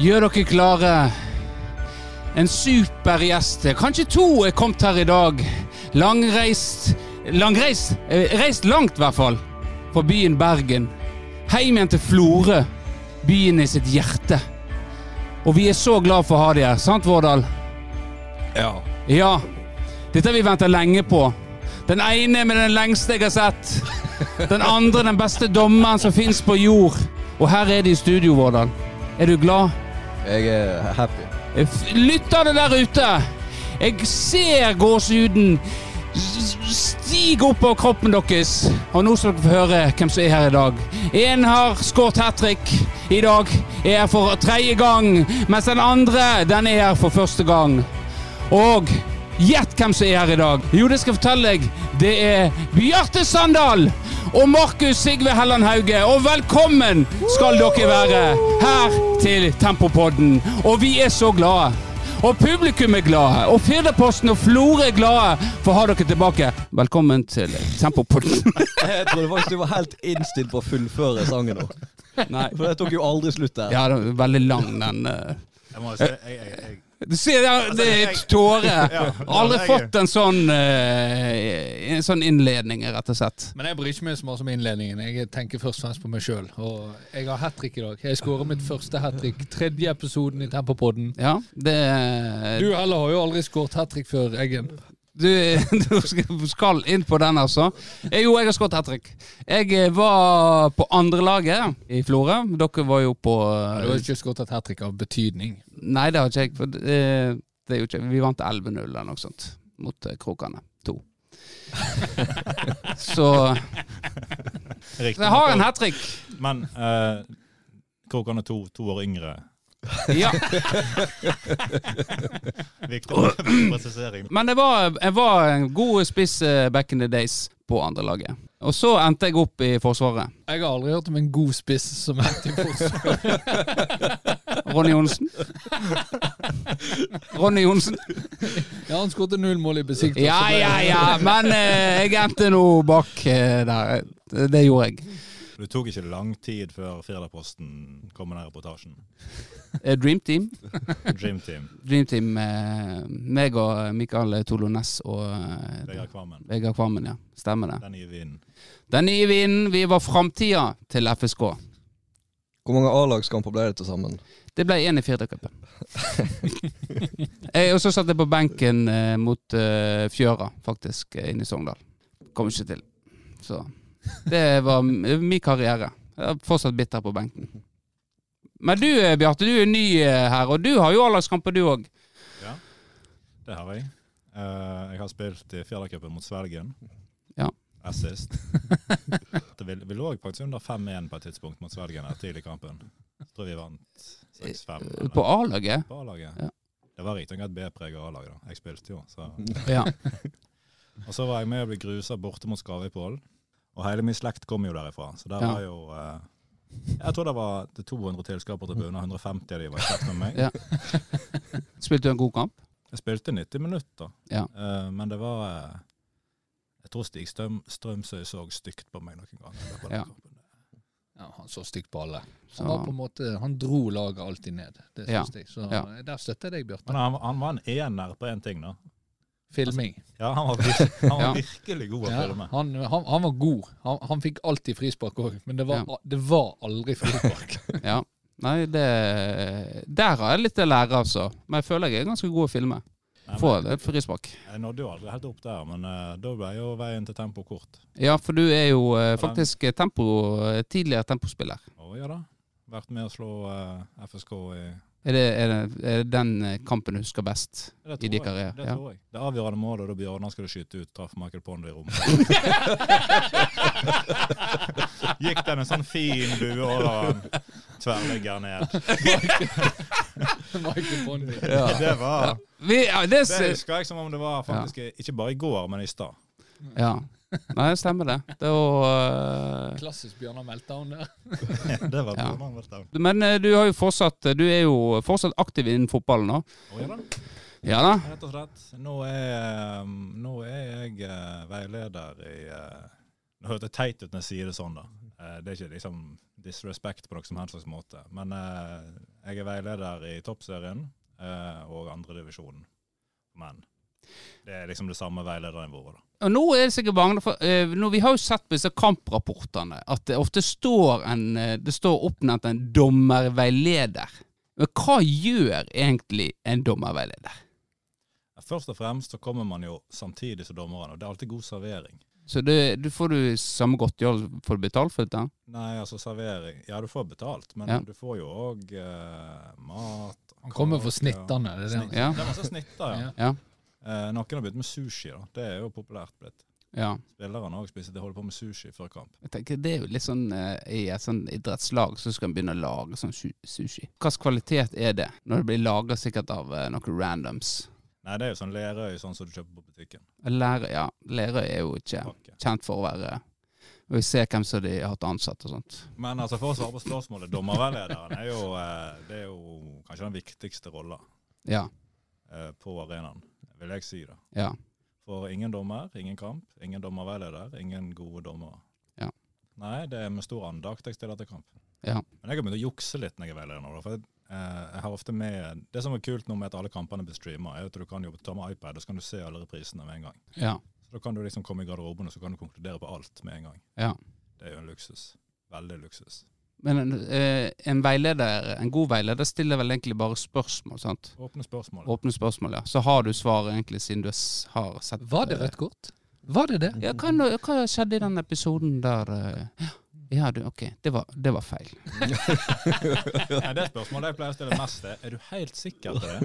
Gjør dere klare. En supergjest. Kanskje to er kommet her i dag. Langreist Langreist? eh, Reist langt, i hvert fall. Fra byen Bergen. Heim igjen til Florø. Byen i sitt hjerte. Og vi er så glad for å ha de her. Sant, Vårdal? Ja. Ja. Dette har vi venta lenge på. Den ene med den lengste jeg har sett. Den andre den beste dommeren som fins på jord. Og her er de i studio, Vårdal. Er du glad? Jeg er happy. F- Lytterne der ute, jeg ser gåsehuden s- s- stige opp av kroppen deres. Og nå skal dere få høre hvem som er her i dag. Én har skåret hat trick i dag, er her for tredje gang. Mens den andre, den er her for første gang. Og gjett hvem som er her i dag. Jo, det skal jeg fortelle deg. Det er Bjarte Sandal og Markus Sigve Helland Hauge. Og velkommen skal dere være her til Tempopodden. Og vi er så glade. Og publikum er glade. Og Firdaposten og Florø er glade for å ha dere tilbake. Velkommen til Tempopodden. Jeg trodde faktisk du var helt innstilt på å fullføre sangen nå. Nei. For det tok jo aldri slutt der. Ja, det er veldig lang den. eh. Jeg må jo si, jeg, jeg, jeg, Du ser der, det er et tåre. Ja, Aldri jeg- fått en sånn, eh, en sånn innledning, rett og slett. Men jeg bryr ikke meg så mye om innledningen. Jeg tenker først og fremst på meg sjøl. Og jeg har hat trick i dag. Jeg skårer mitt første hat trick. Tredje episoden i Tempopodden. Ja, det Du heller har jo aldri skåret hat trick før, Eggen. Du, du skal- skal inn på den, altså. Eh, Jo, jeg har skåret hat trick. Jeg eh, var på andrelaget i Florø. Dere var jo på eh, Du har ikke skåret et hat trick av betydning. Nei, det har ikke jeg. For eh, det er jo ikke Vi vant 11-0 eller noe sånt mot eh, Krokane 2. Så riktig, jeg har en hat trick. Men eh, Krokan er to, to år yngre. Ja. Viktig presisering. Men jeg var, jeg var en god spiss eh, back in the days på andrelaget. Og så endte jeg opp i Forsvaret. Jeg har aldri hørt om en god spiss som er til forsvar. Ronny Johnsen. Ronny Johnsen. Ja, han skåret null mål i besiktelse. Ja, ja, ja, men eh, jeg endte nå bak eh, der. Det gjorde jeg. Det tok ikke lang tid før Firdaposten kom med den reportasjen. Eh, Dream Team. Dream Team, Dream Team eh, meg og Mikael Tolo Næss og eh, Vegard Kvammen. Vegard Kvammen, ja. Stemmer det. Den nye vinen. Den nye vinden. Vi var framtida til FSK. Hvor mange A-lagskamper ble det til sammen? Det ble én i Firdacupen. Eh, og så satt jeg på benken eh, mot eh, Fjøra, faktisk, eh, inne i Sogndal. Kom ikke til. Så det var m- min karriere. Jeg er fortsatt bitter på benken. Men du eh, Bjarte, du er ny eh, her, og du har jo A-lagskamper, du òg. Det har jeg. Eh, jeg har spilt i Firdacupen mot Svelgen. Ja. Assist. Det, vi, vi lå faktisk under 5-1 på et tidspunkt mot Svelgen her tidlig i kampen. Jeg tror vi vant 6-5. eller- På A-laget. på A-laget. Ja. Det var riktignok et B-preg av A-laget. da. Jeg spilte jo. Så. Ja. Og så var jeg med og ble grusa borte mot Skarveipål. Og hele min slekt kom jo derifra. Så der Ja. var jo eh, Jeg tror det var det 200 tilskuere på tribunen. 150 av de var i slekt med meg. Ja. Spilte du en god kamp? Jeg spilte 90 minutter, Ja. Eh, men det var eh, Jeg tror Stig Strøm, Strømsøy så stygt på meg noen ganger. i løpet av den Ja. kampen. Ja, han så stygt på alle. Så, Han, var på en måte, han dro laget alltid ned. Det Ja. syns jeg. Så eh, Ja. der støtter jeg deg, Bjarte. Men han, han var en ener på én ting, da. Filming. Ja, han var, vir- han var Ja. virkelig god å Ja, filme. han, han, han var god. Han, han fikk alltid frispark òg, men det var, det var aldri frispark. ja. Nei, det Der har jeg litt å lære, altså. Men jeg føler jeg er ganske god å filme. Nei, men Får et frispark. Jeg nådde jo aldri helt opp der, men eh, da ble jo veien til tempo kort. Ja, for du er jo eh, den- faktisk eh, tempo, eh, tidligere tempospiller. Å ja da. Vært med å slå eh, FSK i Er det, er, det, er det den eh, kampen du husker best? det I tror de jeg. karriere, Det ja. tror jeg. Det avgjørende målet da Bjørnar skulle skyte ut, traff Michael Pondo i rommet. Gikk den en sånn fin bue over han. Tverrlegger ned. Michael Bondi. Det var Vi, ja, det, Det s- husker jeg som om det var faktisk ikke bare i går, men i stad. ja. Nei, det stemmer det. Det var eh, Klassisk Bjørnar Meltdown der. Det var Ja. Bjørnar Veltdalen. Men eh, du, har jo fortsatt, du er jo fortsatt aktiv innen fotballen nå. Å ja da. Ja da. Rett og slett. Nå er, um, nå er jeg eh, veileder i eh, Nå høres det teit ut når jeg sier det sånn, da. Eh, Det er ikke liksom disrespect på noen som helst slags måte. Men eh, jeg er veileder i toppserien eh, og andredivisjonen for menn. Det er liksom det samme veiledernivået, da. Og nå er det sikkert mange for, eh, nå, Vi har jo sett på disse kamprapportene at det ofte står en eh, Det står oppnevnt en dommerveileder. Men hva gjør egentlig en dommerveileder? Først og fremst så kommer man jo samtidig som dommerne, og det er alltid god servering. Så det, du får du samme godtgjørelse for å betale for dette? Nei, altså servering Ja, du får betalt, men Ja. du får jo òg eh, mat Han kommer for kake, ja. snittene. Det er det han- Snitt. Ja. Det er masse snitter, ja. Ja. Eh, noen har begynt med sushi, da. Det er jo populært blitt. Ja. Spillerne òg spiser de holder på med sushi før kamp. Jeg tenker Det er jo litt sånn eh, i et sånn idrettslag så skal en begynne å lage sånn su- sushi. Hvilken kvalitet er det når det blir laga sikkert av eh, noen randoms? Nei, det er jo sånn lerøy sånn som du kjøper på butikken. Lerøy ja, Lerøy er jo ikke Pakke. kjent for å være Og vi ser hvem som de har hatt ansatt og sånt. Men altså, for å svare på spørsmålet, dommerveilederen er jo, eh, det er jo kanskje den viktigste rolla Ja. eh, på arenaen, vil jeg si. da. ja. For ingen dommer, ingen kamp, ingen dommerveileder, ingen gode dommere. Ja. Nei, det er med stor andakt jeg stiller til kamp. Ja. Men jeg har begynt å jukse litt når jeg er veileder nå. da, for jeg, eh, jeg har ofte med, Det som er kult nå med at alle kampene blir streama, er at du kan jo ta med iPad og så kan du se alle reprisene med en gang. ja. Så da kan du liksom komme i garderoben og så kan du konkludere på alt med en gang. Ja. Det er jo en luksus. Veldig luksus. Men en, eh, en veileder, en god veileder stiller vel egentlig bare spørsmål, sant? Åpne spørsmål. Åpne spørsmål, ja. Så har du svaret egentlig siden du s- har sett Var det rødt kort? Var det det? Ja, hva, nå- hva skjedde i den episoden der eh, Ja, du, OK. Det var, det var feil. Nei, det spørsmålet jeg pleier å stille mest, er er du helt sikker på det?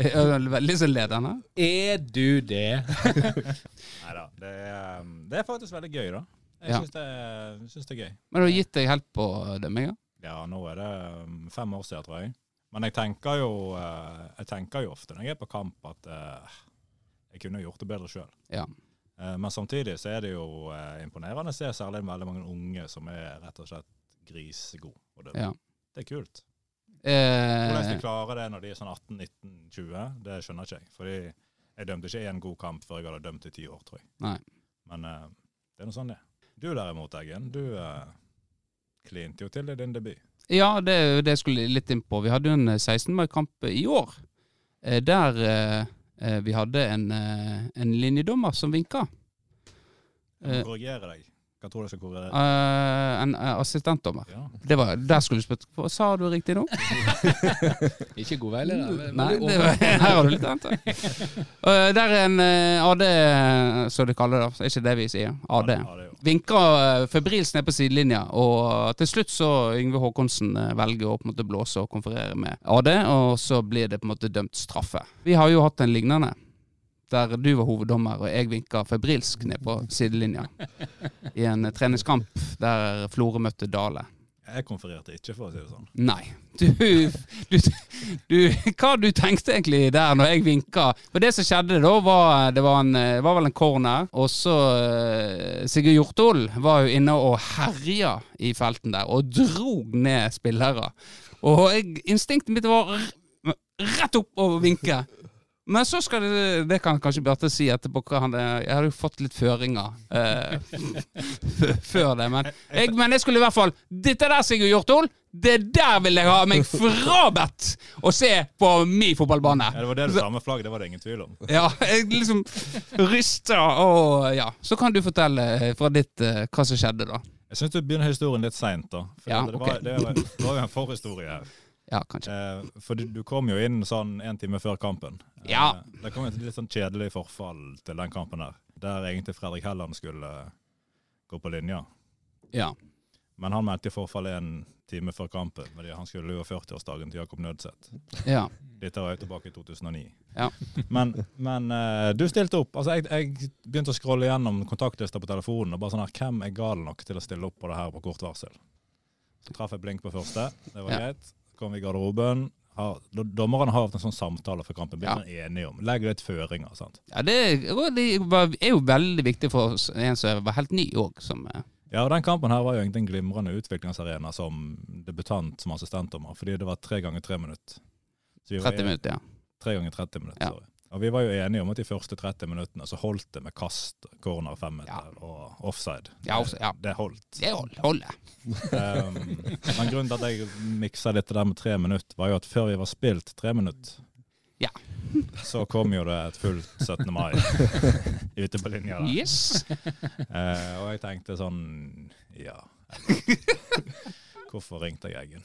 Eh, eh, Veldig sånn ledende. Er du det? Nei da. Det, er, um, det er faktisk veldig gøy, da. Jeg Ja. syns det, er- syns det er gøy. Men du har gitt deg helt på eh, det, Mega? Ja, nå er det um, fem år siden, tror jeg. Men jeg tenker jo, eh, jeg tenker jo ofte når jeg er på kamp, at eh, jeg kunne gjort det bedre sjøl. Ja. Men samtidig så er det jo eh, imponerende å se særlig veldig mange unge som er rett og slett grisegode. Og det, Ja. det er kult. Hvordan de Eh, klarer det når de er sånn 18-19-20, det skjønner ikke jeg. Fordi jeg dømte ikke én god kamp før jeg hadde dømt i ti år, tror jeg. Nei. Men eh, det er nå sånn, det. Du derimot, Eggen, du eh, klinte jo til i din debut. ja, det, er jo det jeg skulle litt inn på. Vi hadde jo en 16. mai-kamp i år eh, der eh, eh, vi hadde en, eh, en linjedommer som vinka. Jeg Eh. må korrigere deg. Hva tror du jeg skal korrigere? Eh, en eh, assistentdommer. Ja. Det var, der skulle du spurt Hva sa du riktig nå? Ikke god veileder. men- Nei, men- det var, her har du litt annet. Eh, der er en eh, AD, eh, som de kaller det. Det er ikke det vi sier. AD. Ja, det er jo. Vinker eh, febrilsk ned på sidelinja, og til slutt så Yngve Håkonsen eh, velger å på en måte blåse og konferere med AD, og så blir det på en måte dømt straffe. Vi har jo hatt en lignende, der du var hoveddommer og jeg vinka febrilsk ned på sidelinja. I en eh, treningskamp der Florø møtte Dale. Jeg konfererte ikke, for å si det sånn. Nei. Du, du, du, hva du tenkte egentlig der når jeg vinka? For det som skjedde da, var det var, en, eh, var vel en corner, og så eh, Sigurd Hjortol var jo inne og herja i felten der, og drog ned spillere. Og jeg, instinktet mitt var r- rett opp og vinke. Men så skal det Det kan kanskje Bjarte si etterpå. Hva han, jeg hadde jo fått litt føringer eh, f- før det. Men jeg, men jeg skulle i hvert fall Dette der, Sigurd Hjortol, det der vil jeg ha meg frabedt å se på min fotballbane. Ja, det var det du sa med flagg, det var det ingen tvil om. Ja, jeg liksom rysta og Ja. Så kan du fortelle fra ditt eh, hva som skjedde, da. Jeg syns du begynner historien litt seint, da. For Ja, det, ok. var, det, var, det var jo en forhistorie her. Ja, kanskje. Eh, for du, du kom jo inn sånn en time før kampen. Eh, Ja. Det kom et litt sånn kjedelig forfall til den kampen der, der egentlig Fredrik Helland skulle gå på linja. Ja. Men han meldte forfall en time før kampen, fordi han skulle jo 40-årsdagen til Jakob Nødseth. Ja. Dette var jo tilbake i 2009. Ja. Men, men eh, du stilte opp. Altså, jeg, jeg begynte å scrolle gjennom kontaktlister på telefonen. og bare sånn her, Hvem er gal nok til å stille opp på det her på kort varsel? Så traff jeg blink på første. Det var Ja. greit. Kom i garderoben. Har, do- dommerne har hatt en sånn samtale før kampen. Blir Ja. man enige om. Legger litt føringer. sant? ja det, og det var- er jo veldig viktig for oss, en som var helt ny òg, som eh, Ja, og Den kampen her var jo egentlig en glimrende utviklingsarena som debutant som assistentdommer, fordi det var tre ganger tre minutter. Så vi var 30 i- minutter. Ja. Tre ganger 30 minutter. Ja. sorry. Og vi var jo enige om at de første 30 minuttene så holdt det med kast, corner, femmeter og offside. Ja, offside, ja. Det holdt. Det hold- holder. Um, men grunnen til at jeg miksa dette der med tre minutter, var jo at før vi var spilt tre minutter, Ja. så kom jo det et fullt 17. mai ute på linja der. Yes. Eh, og jeg tenkte sånn Ja. Hvorfor ringte jeg Eggen?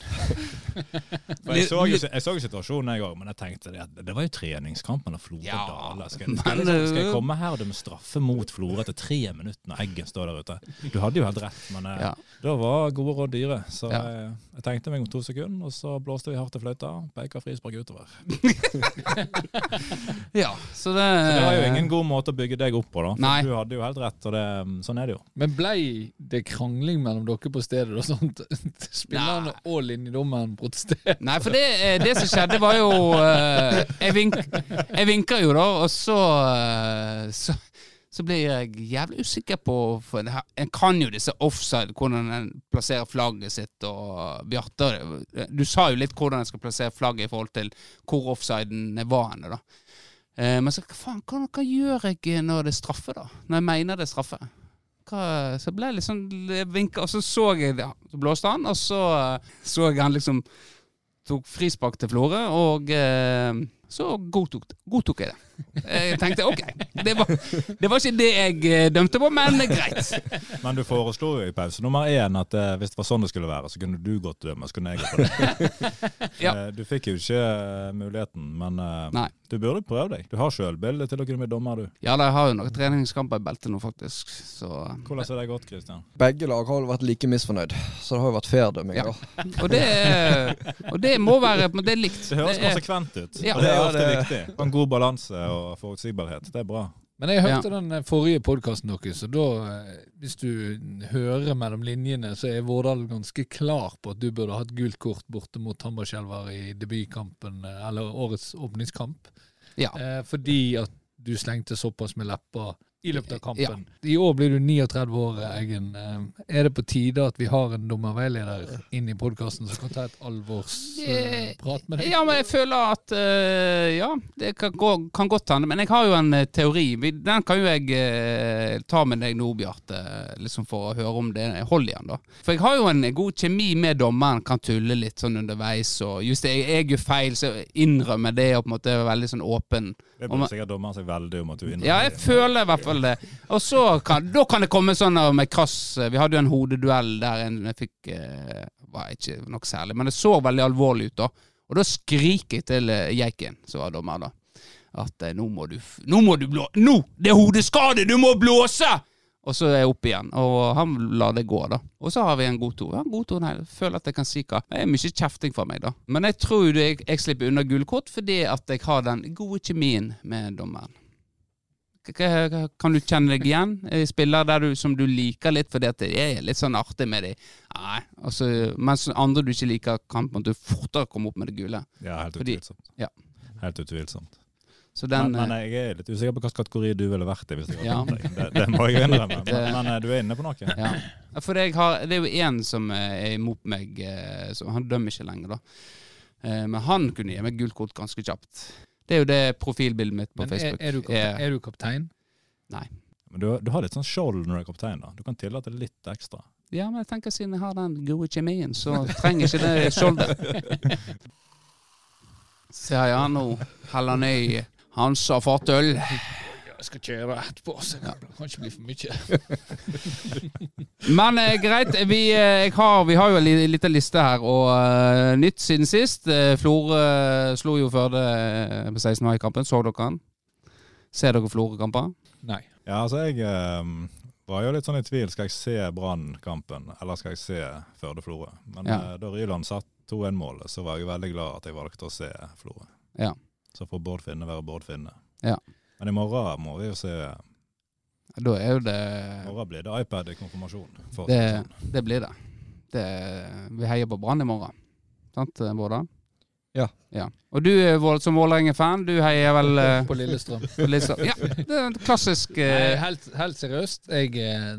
For jeg så, jo, jeg så jo situasjonen, jeg òg, men jeg tenkte det at det var jo treningskamp mellom Florø Ja, og Dale. Skal, men- skal, jeg- skal jeg komme her og dømme straffe mot Florø etter tre minutter når Eggen står der ute? Du hadde jo helt rett, men eh, Ja. da var gode råd dyre. Så Ja. eh, jeg tenkte meg om to sekunder, og så blåste vi hardt i fløyta. Peika frispark utover. ja, så det Det var jo ingen god måte å bygge deg opp på, da. For Eh. Nei. Du hadde jo helt rett, og det, sånn er det jo. Men blei det krangling mellom dere på stedet? og sånt? Spillerne og linjedommeren protesterer. Nei, for det, eh, det som skjedde, var jo eh, Jeg, vink, jeg vinka jo, da, og så, eh, så så blir jeg jævlig usikker på for det her, En kan jo disse offside, hvordan en plasserer flagget sitt og Bjarte Du sa jo litt hvordan en skal plassere flagget i forhold til hvor offsiden var henne, da. Eh, Men så hva faen, hva, hva gjør jeg når det er straffe, da? Når jeg mener det er straffe? Hva, så ble jeg litt sånn vinka, og så så jeg det. Så blåste han, og så eh, så jeg han liksom tok frispark til Florø, og eh, så godtok, godtok jeg det. Jeg tenkte ok, det var, det var ikke det jeg eh, dømte på, men greit. Men du foreslo jo i pause nummer én at eh, hvis det var sånn det skulle være, så kunne du gått dømme, så kunne jeg gått dømme. Ja. Eh, Du fikk jo ikke eh, muligheten, men eh, Nei. du burde prøve deg. Du har sjølbilde til å kunne bli dommer, du. Ja, da, jeg har jo noen treningskamper i beltet nå, faktisk. Så. Hvordan har det gått, Kristian? Begge lag har vel vært like misfornøyd, så det har jo vært fair dømming, Ja. da. Og, det, og det må være men Det er likt. Det høres Det er- konsekvent ut, Ja. og det er Ja, ofte det- viktig. Og En god balanse og forutsigbarhet, det er bra. Men jeg hørte den eh, forrige podkasten deres, og da, eh, hvis du hører mellom linjene, så er Vårdal ganske klar på at du burde hatt gult kort borte mot Tambarskjelver i debutkampen, eh, eller årets åpningskamp, Ja. eh, fordi at du slengte såpass med lepper i løpet av kampen. I år blir du 39 år, Eggen. Eh, Er det på tide at vi har en dommerveileder inn i podkasten som kan ta et Eh, alvorsprat med deg? ja, men jeg føler at eh, Ja, det kan, gå, kan godt hende. Men jeg har jo en eh, teori. Vi- Den kan jo jeg eh, ta med deg nå, Bjarte, liksom for å høre om det holder igjen, da. For jeg har jo en god kjemi med dommeren, kan tulle litt sånn underveis. Og just det, jeg, jeg gjør feil, så jeg innrømmer det, og på en måte er veldig sånn åpen. Det Om- burde sikkert dommeren seg veldig om at du er inne. Ja, jeg føler i hvert fall det. Og så kan, da kan det komme sånn der med krass Vi hadde jo en hodeduell der en fikk eh, Var ikke nok særlig, men det så veldig alvorlig ut, da. Og da skriker jeg til eh, Geiken, som var dommer, da, at eh, nå må du f- Nå må du blå... Nå! Det er hodeskade! Du må blåse! Og så er jeg opp igjen, og han lar det gå, da. Og så har vi en god to. Ja, god to, nei, jeg føler at jeg kan si hva. Det er mye kjefting fra meg, da. Men jeg tror jo det, jeg, jeg slipper unna gullkort fordi at jeg har den gode kjemien med dommeren. K- k- Kan du kjenne deg igjen i spillere der du, som du liker litt fordi at det er litt sånn artig med de? Nei, altså, mens andre du ikke liker, kan på en måte fortere komme opp med det gule. Ja, helt Fordi- utvilsomt. ja. Helt utvilsomt. Så den eh, men, men jeg er litt usikker på hvilken kategori du ville vært i. hvis jeg hadde Ja. dømt deg. Det, det må jeg innrømme. Men, Det- men eh, du er inne på noe. eh, ja. For jeg har, det er jo én som eh, er imot meg, eh, så han dømmer ikke lenger, da. Eh, Men han kunne gi meg gult kort ganske kjapt. Det er jo det profilbildet mitt på Men er, Facebook. er, du kaptein, er du kaptein? Men du, du har litt sånn skjold når du er kaptein. da. Du kan tillate litt ekstra. Ja, men jeg tenker siden jeg har den gode kjemien, så trenger ikke det skjoldet. Seriano Hellanøy, han som har fått øl. Ja, jeg skal kjøre etterpå, så det kan ikke bli for mye. Men eh, greit, vi, eh, jeg har, vi har jo en li- liten liste her, og eh, nytt siden sist. Eh, Florø eh, slo jo Førde eh, på 16. mai-kampen. Så dere han? Ser dere Florø-kamper? Nei. Ja, altså jeg ehm, var jo litt sånn i tvil. Skal jeg se Brann-kampen, eller skal jeg se Førde-Florø? Men Ja. eh, da Ryland satt 2-1-målet, så var jeg veldig glad at jeg valgte å se Florø. Ja. Så får Bård Finne være Bård Finne. Ja. Men i morgen må vi jo se. I Da er jo det morgen blir det iPad i konfirmasjon. For å si Det, det sånn. det blir det. det. Vi heier på Brann i morgen. Sant, Bård? Ja. ja. Og du eh, Vål- som Vålerenga-fan, du heier vel eh, På Lillestrøm. på Lillestrøm? Ja, det er en klassisk Nei, eh, helt, helt seriøst, jeg eh,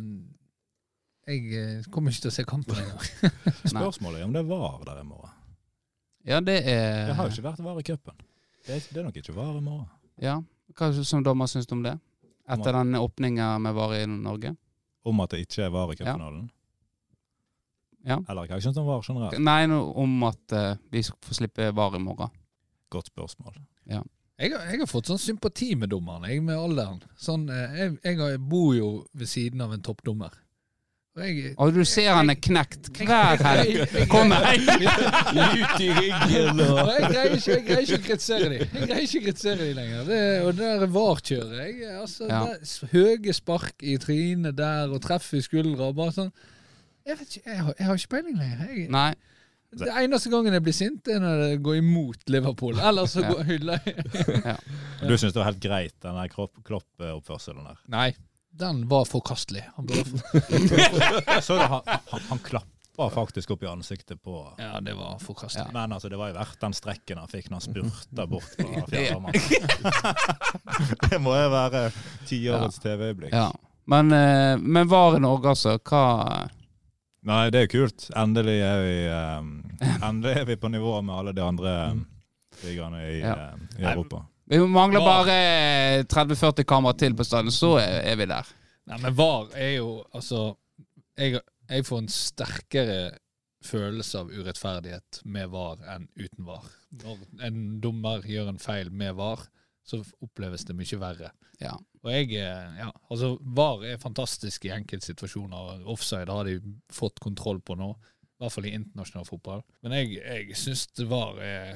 Jeg eh, kommer ikke til å se kampen engang. Spørsmålet er om det var der i morgen. Ja, det er Det har jo ikke vært var i cupen. Det, er- det er nok ikke var i morgen. Ja. Hva sy- som dommer syns du om det? Etter den åpninga vi var i Norge? Om at det ikke var i cupfinalen? Ja. Eller hva syns han var generelt? Nei, no- om at eh, vi skal få slippe VAR i morgen. Godt spørsmål. Jeg har, jeg har fått sånn sympati med dommeren, jeg, med alderen. Sånn, eh, jeg, jeg har- bor jo ved siden av en toppdommer. Og jeg eh, Og du ser han er knekt hver helg. Kommer hjem! Lut i ryggen og og jeg greier ikke, jeg greier ikke å kritisere dem. Jeg greier ikke å kritisere dem lenger. Det, og det der VAR-kjøret jeg, altså, Ja. det, s- Høye spark i trynet der og treff i skuldra. og Bare sånn Jeg vet ikke, jeg har, jeg har ikke peiling lenger. Jeg, Nei. det eneste gangen jeg blir sint, er når det går imot Liverpool. Ellers så Ja. går, hyller jeg Og Du syns det var helt greit, den der Klopp- Klopp-oppførselen der? Nei, den var forkastelig. Han burde, Så det, han, han, han klappa faktisk opp i ansiktet på ja, det var forkastelig. Men altså, det var jo verdt den strekken han fikk når han spurta bort fra fjerdemann. det må jo være tiårets TV-øyeblikk. Ja. Men, eh, men VAR i Norge, altså. Hva Nei, det er jo kult. Endelig er vi, eh, endelig er vi på nivå med alle de andre um, ligaene i, Mm. Ja. eh, i Europa. Vi mangler VAR. bare 30-40 kamera til på stadion, så er er vi der. Nei, men VAR er jo Altså, jeg, jeg får en sterkere følelse av urettferdighet med VAR enn uten VAR. Når en dommer gjør en feil med VAR, så oppleves det mye verre. Ja. Og jeg eh, Ja, altså, VAR er fantastisk i enkeltsituasjoner. Offside har de fått kontroll på nå. I hvert fall i internasjonal fotball. Men jeg, jeg syns VAR er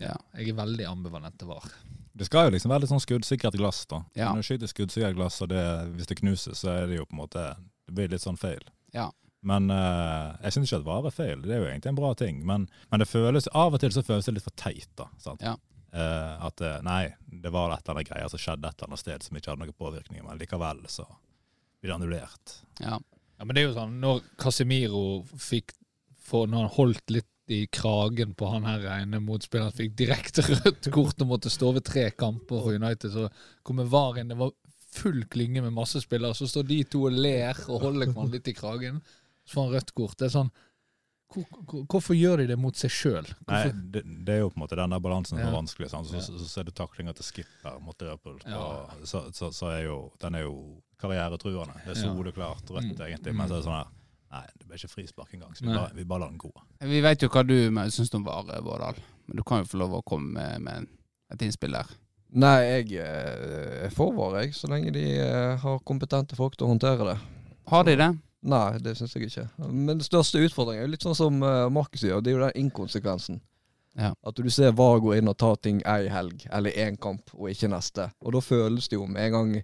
Ja. Jeg er veldig ambivalent til VAR. Det skal jo liksom være litt sånn skuddsikkert glass, da. Ja. Når du skyter skuddsikkert glass, og det, hvis det knuses, så er det jo på en måte Det blir litt sånn feil. Ja. Men eh, jeg syns ikke at vare er feil, det er jo egentlig en bra ting. Men, men det føles, av og til så føles det litt for teit, da. Sant? Ja. Eh, at eh, nei, det var et eller annet greier som skjedde et eller annet sted som ikke hadde noen påvirkning, men likevel så blir det annullert. Ja. Ja, men det er jo sånn, når Casemiro fikk for, Når han holdt litt i kragen på han her ene motspilleren, fikk direkte rødt kort og måtte stå ved tre kamper for United, så kommer VAR inn. Det var full klynge med masse spillere, så står de to og ler og holder hverandre litt i kragen. Så får han rødt kort. Det er sånn hvor, hvor, Hvorfor gjør de det mot seg sjøl? Nei, det, det er jo på en måte den der balansen som Ja. er vanskelig. Sant? Så, Ja. så, så ser du taklinga til skipper mot Liverpool, Ja. og så, så, så er jo, den er jo karrieretruende. Det er Ja. Mm. soleklart rødt, egentlig, men så er det sånn her Nei, det ble ikke frispark engang, så vi Nei. bare, vi bare lar den gå. Vi vet jo hva du men- syns om VAR, eh, Vårdal. Men du kan jo få lov å komme med, med et innspill der. Nei, jeg eh, er for VAR, jeg, så lenge de eh, har kompetente folk til å håndtere det. Har de det? Nei, det syns jeg ikke. Men den største utfordringen er jo litt sånn som eh, Markus sier, det er jo den inkonsekvensen. Ja. At du ser VAR gå inn og ta ting ei helg, eller én kamp, og ikke neste. Og da føles det jo med en gang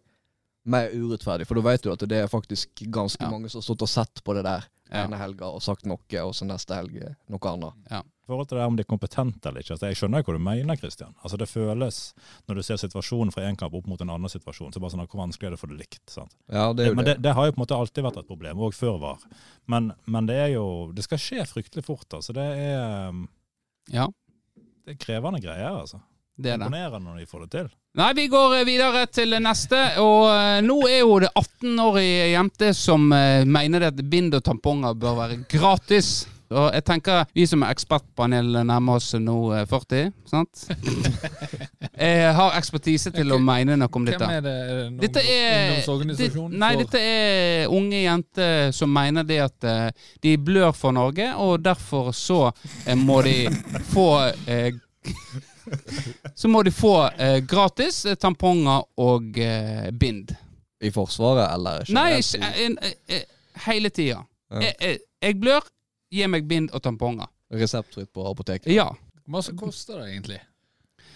mer urettferdig, for da vet du at det er faktisk ganske Ja. mange som har stått og sett på det der Ja. ene helga og sagt noe, og så neste helg eh, noe annet. I forhold til det her om de er kompetente eller ikke, altså jeg skjønner jo hva du mener, Kristian. Altså det føles, når du ser situasjonen fra én kamp opp mot en annen situasjon, så bare sånn, hvor vanskelig er det å få det likt? sant? Ja, det er jo men det. det, det har jo på en måte alltid vært et problem, òg før VAR. Men, men det er jo Det skal skje fryktelig fort, altså. Det er, um, Ja, det er krevende greier, altså. det er det. Imponerende når de får det til. Nei, vi går eh, videre til neste. Og eh, nå er jo det 18-årige jente som eh, mener det at bind og tamponger bør være gratis. Og jeg tenker vi som er ekspertpanel nærmer oss nå eh, 40, sant? Jeg har ekspertise til å mene noe om dette. Hvem er det? Er det en Dette er, ungdomsorganisasjon? Ditt- nei, for- dette er unge jenter som mener det at eh, de blør for Norge, og derfor så eh, må de få eh, Så må de få eh, gratis eh, tamponger og eh, bind. I Forsvaret, eller Nei, generelt ikke- i en- eh, eh, hele tida. Ja. Jeg, jeg, jeg blør, gi meg bind og tamponger. reseptfritt på apoteket. Ja. Hvor masse koster det egentlig?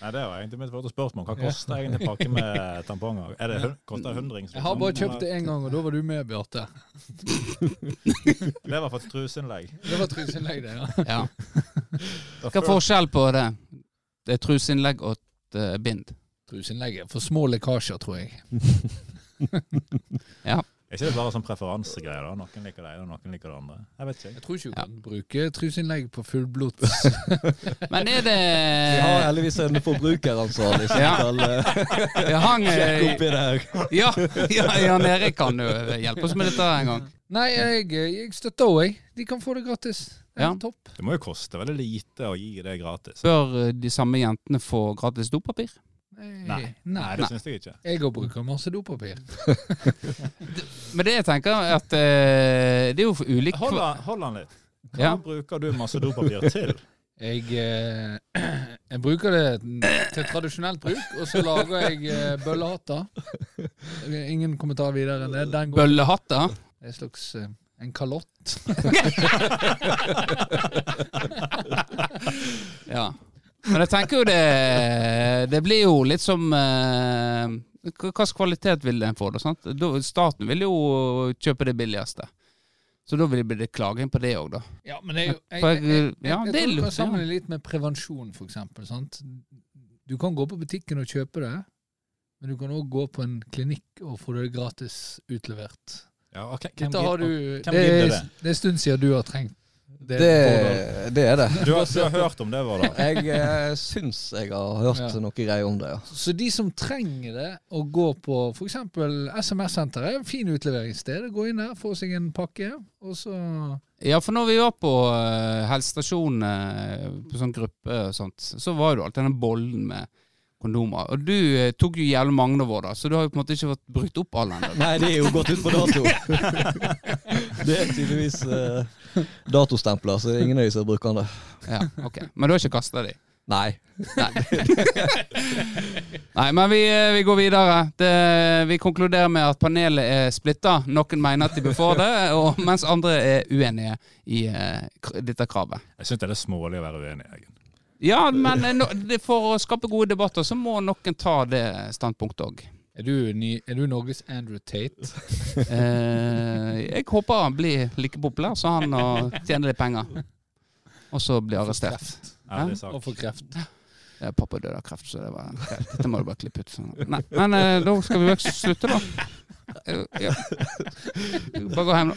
Nei, Det var egentlig mitt første spørsmål. Hva Ja. koster egentlig en pakke med tamponger? Er det, hun- koster det hundrings? liksom? Jeg har Sånn, bare eh, kjøpt det én gang, og da var du med, Bjarte. Det var faktisk truseinnlegg. Det var truseinnlegg, det. ja. ja. Hva Da er føl- forskjellen på det? Det er truseinnlegg og eh, bind. Truseinnlegget. For små lekkasjer, tror jeg. Er ikke det bare sånn preferansegreier? da? Noen liker det ene, og noen liker det andre. Jeg vet ikke. Jeg tror ikke du Ja. kan bruke truseinnlegg på fullblods. Men er det Vi har heldigvis en forbrukeransvarlig som eh, Ja. skal eh, Jeg hang sjekke eh, opp i det her. Ja, ja Jan Erik kan jo hjelpe oss med dette en gang. Nei, jeg, jeg støtter òg, jeg. De kan få det gratis. Det er Ja. topp. Det må jo koste veldig lite å gi det gratis. Bør eh, de samme jentene få gratis dopapir? Jeg- Nei. Nei. Nei, det syns jeg ikke. Jeg òg bruker masse dopapir. Men det jeg tenker er at eh, det er jo for ulik Hold han, hold han litt. Hva Ja. bruker du masse dopapir til? Jeg, eh, jeg bruker det til tradisjonelt bruk, og så lager jeg eh, bøllehatter. Ingen kommentar videre enn det. Den går bøllehatter. Det er en slags eh, en kalott. Ja. Men jeg tenker jo det Det blir jo litt som eh, hva Hvilken kvalitet vil den få? Da, sant? Da, staten vil jo kjøpe det billigste. Så da vil det bli klaging på det òg, da. Ja, men det er jo jeg, For jeg, jeg- jeg, jeg, ja, det er tror du lurt, kan ja. sammenligne litt med prevensjon, for eksempel. Sant? Du kan gå på butikken og kjøpe det, men du kan òg gå på en klinikk og få det gratis utlevert. Ja, og hvem- hvem Dette har du, gidder- det, hvem er, gidder det? det er en stund siden du har trengt det. Det, det er det. Du har, du har hørt om det, Vårdal? Jeg eh, syns jeg har hørt Ja. noe greier om det, ja. Så de som trenger det, å gå på f.eks. SMS-senteret, er en fin utleveringssted. Gå inn der, få seg en pakke, og så Ja, for når vi var på uh, helsestasjonen eh, på sånn gruppe og sånt, så var det jo alltid den bollen med kondomer. Og du eh, tok jo jævlig mange av våre, da, så du har jo på en måte ikke fått brukt opp alle ennå. Nei, det er jo gått ut på dato. Det er tydeligvis eh, datostempler, så det er ingen av de som bruker det. Ja, ok. Men du har ikke kasta de? Nei. Nei, men vi, eh, vi går videre. Det, vi konkluderer med at panelet er splitta. Noen mener at de bør få det, og, mens andre er uenige i eh, kr- dette kravet. Jeg syns det er litt smålig å være uenig, Egen. Ja, men eh, no, det- for å skape gode debatter, så må noen ta det standpunktet òg. Er du, ny, er du Norges Andrew Tate? Eh, jeg håper han blir like populær så han og tjener litt penger. Og så blir arrestert. Ærlig Og sak. får kreft. Ja, pappa døde av kreft, så det var Dette må du bare klippe ut. Sånn. Nei, men eh, da skal vi vel slutte, da. Eh, ja. Bare gå hjem, da.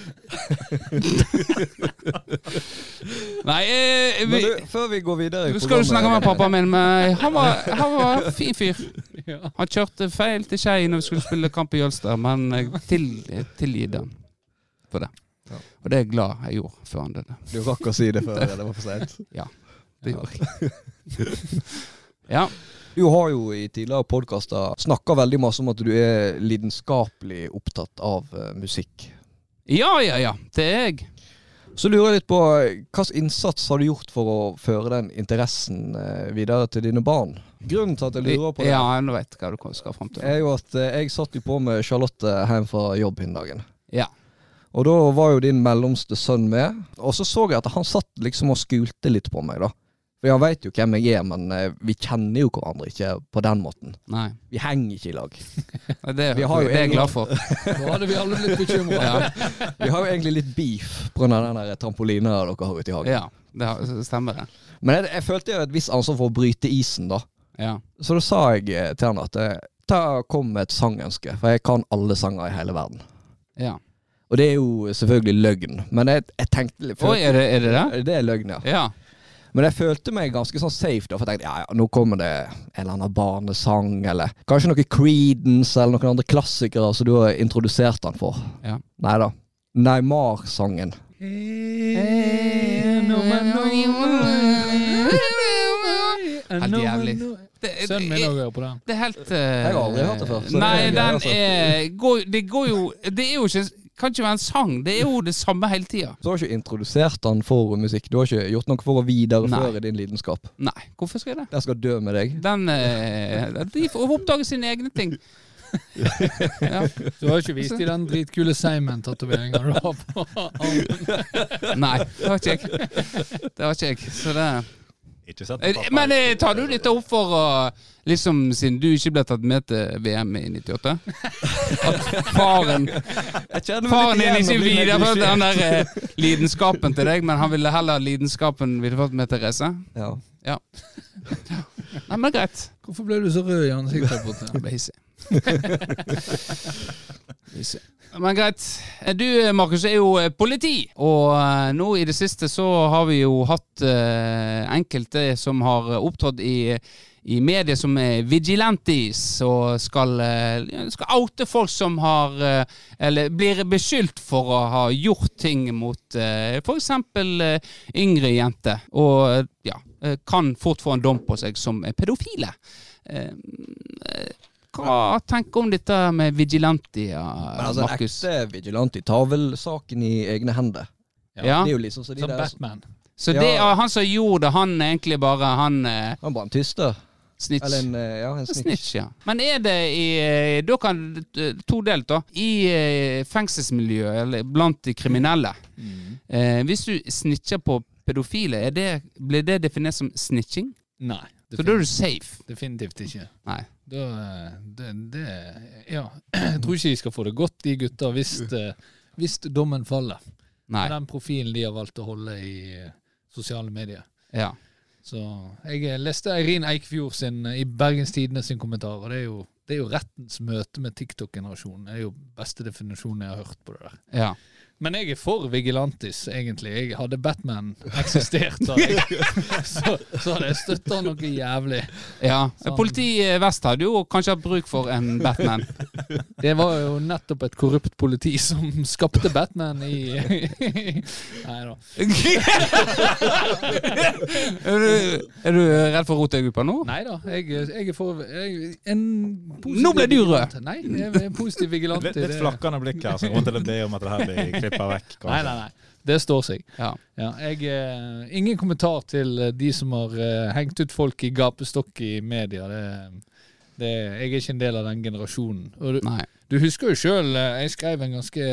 Nei eh, vi, Men du, før vi går videre i Skal du snakke med programmet- pappaen min? Men eh, han var, han var en fin fyr. Ja. Han kjørte feil til Skei når vi skulle spille kamp i Jølster, men jeg til, tilgir den for det. Ja. Og det er jeg glad jeg gjorde før han døde. Du rakk å si det før det var for seint. Det gjorde jeg. Ja. Du har jo i tidligere podkaster snakka veldig masse om at du er lidenskapelig opptatt av eh, musikk. ja, ja, ja. Det er jeg. Så lurer jeg litt på hvilken innsats har du gjort for å føre den interessen eh, videre til dine barn? Grunnen til at jeg lurer på det, Ja, nå vet jeg hva du skal fram til. er jo at eh, jeg satt jo på med Charlotte hjem fra jobb den dagen. Ja. Og da var jo din mellomste sønn med, og så så jeg at han satt liksom og skulte litt på meg, da. For han veit jo hvem jeg er, men eh, vi kjenner jo hverandre ikke på den måten. Nei. Vi henger ikke i lag. Det, Vi har jo det er en- jeg glad for. Da hadde vi alle blitt bekymra. Ja, Vi har jo egentlig litt beef pga. den der trampolina dere har ute i hagen. ja det har- stemmer, det. Men jeg, jeg følte jo et visst ansvar for å bryte isen, da. Ja. Så da sa jeg eh, til han at eh, ta, kom med et sangønske, for jeg kan alle sanger i hele verden. ja. Og det er jo selvfølgelig løgn, men jeg, jeg tenkte litt Oi, er det, er det det? Det er løgn, ja. Ja. Men jeg følte meg ganske sånn safe, da, for jeg tenkte ja, ja, nå kommer det en eller annen barnesang, eller kanskje noe Creedence, eller noen andre klassikere som du har introdusert han for. Ja. Nei da. Neymar-sangen. Eh, Helt jævlig. Det- Sønnen min òg hører på den. Det er helt eh, har aldri hørt det før, så det er Nei, gøy, den altså. er, går, det går jo Det er jo ikke Kan ikke være en sang. Det er jo det samme hele tida. Så du har ikke introdusert han for musikk. Du har ikke gjort noe for å videreføre din lidenskap. Nei, hvorfor skal jeg det? Jeg skal dø med deg. Den eh, De får oppdage sine egne ting. Ja. Du har ikke vist i den dritkule Seimen-tatoveringa du har på armen. Nei, det har ikke jeg. Det har ikke jeg. Så det Ikke sett Eh, Men eh, tar du dette opp for å Liksom, siden du ikke ble tatt med til VM i 98? At faren Jeg kjenner Faren din ikke videreførte den der eh, lidenskapen til deg, men han ville heller ha lidenskapen videreført med Therese? Ja. Nei, men greit. Hvorfor ble du så rød i ansiktet? på det? Jeg ble hissig. hissig. Men greit. Du, Markus, er jo eh, politi. Og eh, nå i det siste så har vi jo hatt eh, enkelte som har eh, opptrådt i, i medier som er vigilantes, og skal, eh, skal oute folk som har eh, Eller blir beskyldt for å ha gjort ting mot eh, for eksempel eh, yngre jenter. Og eh, ja, eh, kan fort få en dom på seg som er pedofile. Eh, eh, Hva tenker du om dette med vigilantia, Men altså, en Markus? ekte vigilante tar vel saken i egne hender. Ja. Det er jo liksom så de Som der Batman. Så det, Ja. han som gjorde det, han er egentlig bare han eh, Han bare en tyster. snitch. Eller en, eh, ja, en snitch. Snitch, ja. Men er det i eh, Da kan to delt, da. I eh, fengselsmiljøet, eller blant de kriminelle. Eh, hvis du snitcher på pedofile, er det, blir det definert som snitching? Nei. Så da er du safe. Definitivt ikke. Nei. Da, det, det, ja. Jeg tror ikke de skal få det godt, de gutta, hvis, eh, hvis dommen faller. Nei. Med den profilen de har valgt å holde i eh, sosiale medier. Ja. Så jeg eh, leste Eirin Eikfjord sin eh, i Bergens Tidende sin kommentar, og det er jo, det er jo rettens møte med TikTok-generasjonen. Det er jo beste definisjonen jeg har hørt på det der. ja. Men jeg er for Vigilantis, egentlig. Jeg hadde Batman eksistert, så hadde jeg, så, så hadde jeg støtta han noe jævlig. ja. Sånn. Politiet vest hadde jo kanskje hatt bruk for en Batman. Det var jo nettopp et korrupt politi som skapte Batman i Nei da. er, du, er du redd for rotegruppa nå? Nei da, jeg, jeg er for jeg, en Nå ble du rød. vigilante. Nei, jeg er en positiv vigilant. Litt, litt flakkende blikk her, så jeg kommer til å be om at det her blir klippa vekk. Nei, kanskje. nei, nei. Det står seg. Ja. Ja, jeg, eh, ingen kommentar til eh, de som har eh, hengt ut folk i gapestokk i media. Det, det, jeg er ikke en del av den generasjonen. Og du, Nei. du husker jo sjøl, jeg skrev en ganske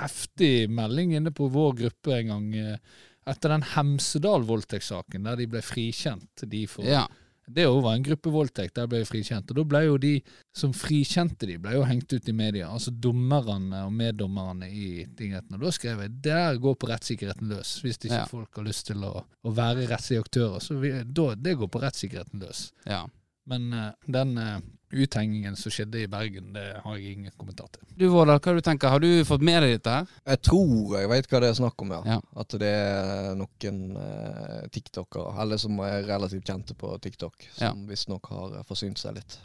heftig melding inne på vår gruppe en gang eh, etter den Hemsedal-voldtektssaken, der de ble frikjent. De for, Ja. Det jo var en gruppe voldtekt, der ble de frikjent. Og da ble jo de som frikjente de, ble jo hengt ut i media. Altså dommerne og meddommerne i tingretten. Og da skrev jeg der går på rettssikkerheten løs. Hvis ikke Ja. folk har lyst til å, å være rettslige aktører, så vi, da, det går på rettssikkerheten løs. ja. Men eh, den eh, uthengingen som skjedde i Bergen, det har jeg ingen kommentar til. Du, Vårdal, hva du tenker? Har du fått med deg dette her? Jeg tror jeg vet hva det er snakk om, ja. Ja. At det er noen eh, tiktokere, eller som er relativt kjente på TikTok, som visstnok har eh, forsynt seg litt.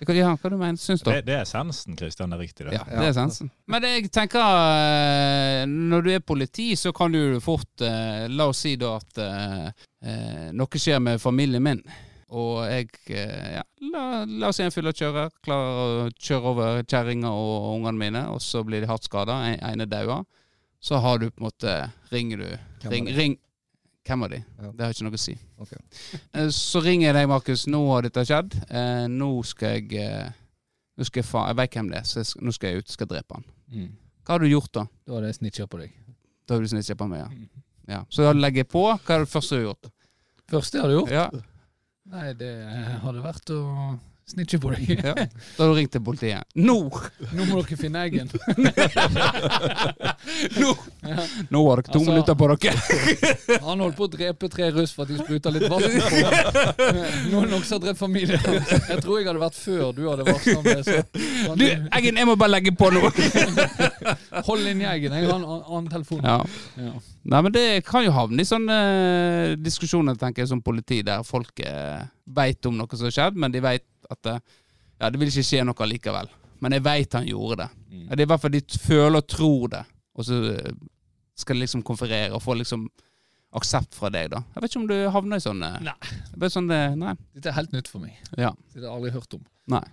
Hva, ja, hva du mener Syns du? Det, det er essensen, Kristian. Det er riktig, det. Ja, det er sensen. Men jeg tenker eh, Når du er politi, så kan du fort eh, La oss si da at eh, eh, noe skjer med familien min, og jeg eh, ja, la, la oss si en fyllekjører klarer å kjøre over kjerringa og ungene mine, og så blir de hardt skada, en ene dauer. Så har du på en måte Ringer du Hvem er Ring, det? ring. Hvem av de? Ja. Det har ikke noe å si. Ok. Eh, Så ringer jeg deg, Markus. Nå har dette skjedd. Eh, Nå skal jeg eh, Nå skal jeg fa Jeg veit hvem det er, så jeg, sk- nå skal jeg ut. Skal drepe han. Hva har du gjort da? Da hadde jeg snitcha på deg. Da har du snitcha på meg, ja. Mm. ja. Så da legger jeg på. Hva er det første du har gjort? Første jeg hadde gjort? Ja. Nei, det hadde vært å snitche på deg. ja. Da har du ringt til politiet. Nå! Nå må dere finne eggen. Nå, nå har dere to Altså- minutter på dere. Han holdt på å drepe tre russ for at de spruta litt vann på ham. Noen også har drept familien hans. Jeg tror jeg hadde vært før du hadde varsla om det. Så. Sånn, Du, Eggen, jeg må bare legge på nå. Hold inn i eggen. Jeg har en an- annen telefon. Ja. Ja. Nei, men det kan jo havne i sånne eh, diskusjoner, tenker jeg, som politi, der folk eh, veit om noe som har skjedd, men de veit at eh, Ja, det vil ikke skje noe likevel. Men jeg veit han gjorde det. Ja, Det er i hvert fall de t- føler og tror det, og så eh, skal de liksom konferere og få liksom aksept fra deg, da. Jeg vet ikke om du havner i sånne Nei. Det er Bare sånn det Nei. Dette er helt nytt for meg. Ja. Dette har jeg aldri hørt om. Nei.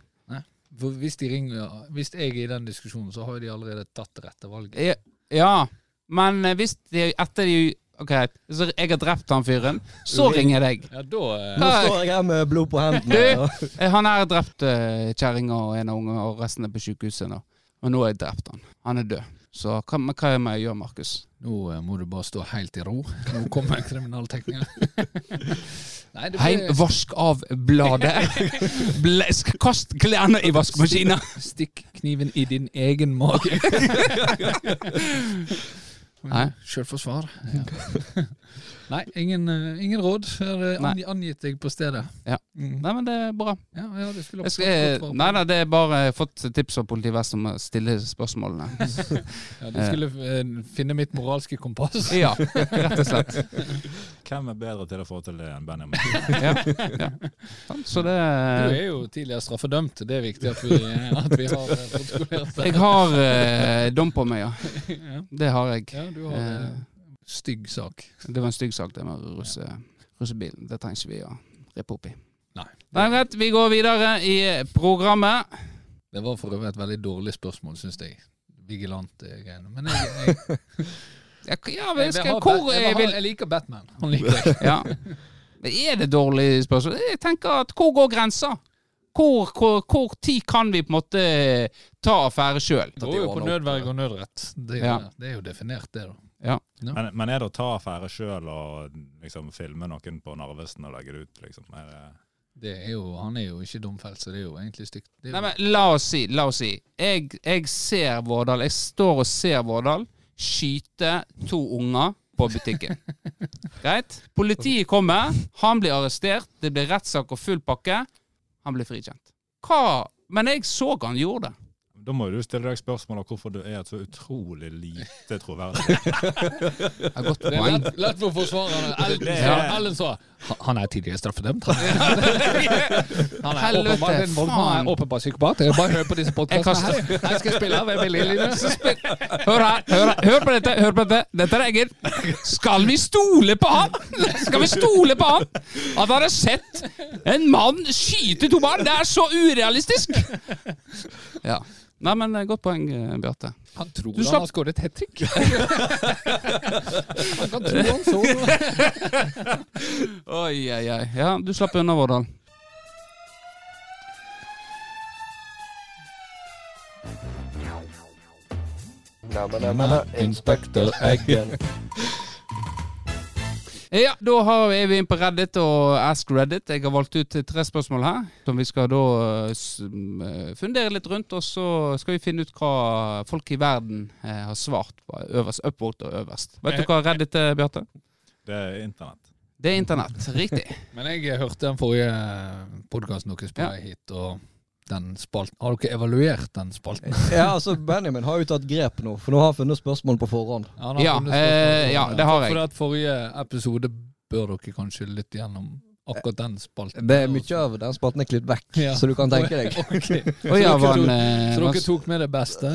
For hvis, de ringer, hvis jeg er i den diskusjonen, så har jo de allerede tatt det rette valget. Ja, ja. men eh, hvis de etter de OK, så jeg har drept han fyren, så ringer jeg deg. Ja, da eh, Hva- Nå står jeg her med blod på hendene. og- Eh, Han er drept eh, kjerringa og en av ungene, og resten er på sykehuset nå. Og nå har jeg drept han. Han er død. Så hva, men hva må jeg gjøre, Markus? Nå eh, må du bare stå helt i ro. Nå kommer kriminalteknikeren. Nei, det Heim, blir vask av bladet. Ble, sk- kast klærne i vaskemaskinen. stikk kniven i din egen mage. Nei. Selvforsvar. Ja. Nei, ingen, eh, ingen råd. Jeg hadde Nei. angi- angitt deg på stedet. Ja. Mm. Nei, men det er bra. ja, ja det skulle Jeg skal, absolutt vært nei, nei, det er bare jeg har fått tips fra politiet Vest om å stille spørsmålene. Ja, du skulle eh, finne mitt moralske kompass. Ja, rett og slett. Hvem er bedre til å få til det enn Benjamin? Ja, ja. Sant, Så det Du er jo tidligere straffedømt. Det er viktig at vi, at vi har eh, protokollert det. Jeg har eh, dom på meg, ja. Ja. Det har jeg. Ja, du har eh, stygg sak. Det var en stygg sak, det med russe, russebilen. Det trenger ikke vi å rippe opp i. Nei. Det er greit, vi går videre i programmet. Det var for øvrig et veldig dårlig spørsmål, syns jeg. Vigilante-greiene. Men jeg, jeg, jeg, Ja, k- ja, vi skal, vil ha hvor Bat- jeg, jeg vil ha- vil jeg liker Batman. Han liker jeg. ja. Men er det dårlig spørsmål? Jeg tenker at hvor går grensa? Hvor, hvor, hvor tid kan vi på en måte ta affære sjøl? Det går jo på nødverge og nødrett. Det, er jo Ja. det. det er jo definert, det, da. Men, men er det å ta affære sjøl og liksom filme noen på Narvesen og legge det ut, liksom? Er det, Det er jo, han er jo ikke domfelt, så det er jo egentlig stygt. Det er Nei, jo, men la oss si, la oss si. Jeg, jeg ser Vårdal, jeg står og ser Vårdal skyte to unger på butikken. Greit? Politiet kommer, han blir arrestert, det blir rettssak og full pakke. Han blir frikjent. Hva? Men jeg så han gjorde det. da må jo du stille deg spørsmål om hvorfor du er et så utrolig lite troverdig. Det er et godt det er poeng. lett, lett for forsvarerne. Ellen, Det er- sa- Ellen sa "Han- Han er tidligere straffedømt. Han Han er Helvete, åpenbart en vold- han faen. er åpenbart psykopat. Jeg bare hører på disse Jeg podkastene her. Jeg skal spille av Emil Lilje. Hør her, hør, her, hør på dette. hør på Dette Dette er Egil. Skal vi stole på han? Skal vi stole på han? At han har sett en mann skyte to barn? Det er så urealistisk! Ja. Nei, men eh, godt poeng, eh, Bjarte. Han tror Du slapp- han har skåret et hat trick. han kan tro han så Oi, oi, oi. Ja, du slapp unna, Vårdal. Inspektør Eggen. Ja, da har- er vi inne på Reddit og Ask Reddit. Jeg har valgt ut eh, tre spørsmål her, som vi skal da eh, s- m, eh, fundere litt rundt. Og så skal vi finne ut hva folk i verden eh, har svart på øverst, upvote og øverst. Vet du hva Reddit er, Bjarte? Det er internett. Det er internett. Riktig. Men jeg hørte den forrige podkasten deres på Ja. vei hit, og den spalten Har dere evaluert den spalten? Ja, altså Benjamin har jo tatt grep nå, for nå har han funnet spørsmål på forhånd. Ja, Ja, eh, ja, det har jeg. For at forrige episode bør dere kanskje lytte gjennom akkurat den spalten. Det er mye av den spalten er klippet vekk, Ja. så du kan tenke deg. Ok. Og ja, dere var tok- en, eh, Så var- dere tok med det beste?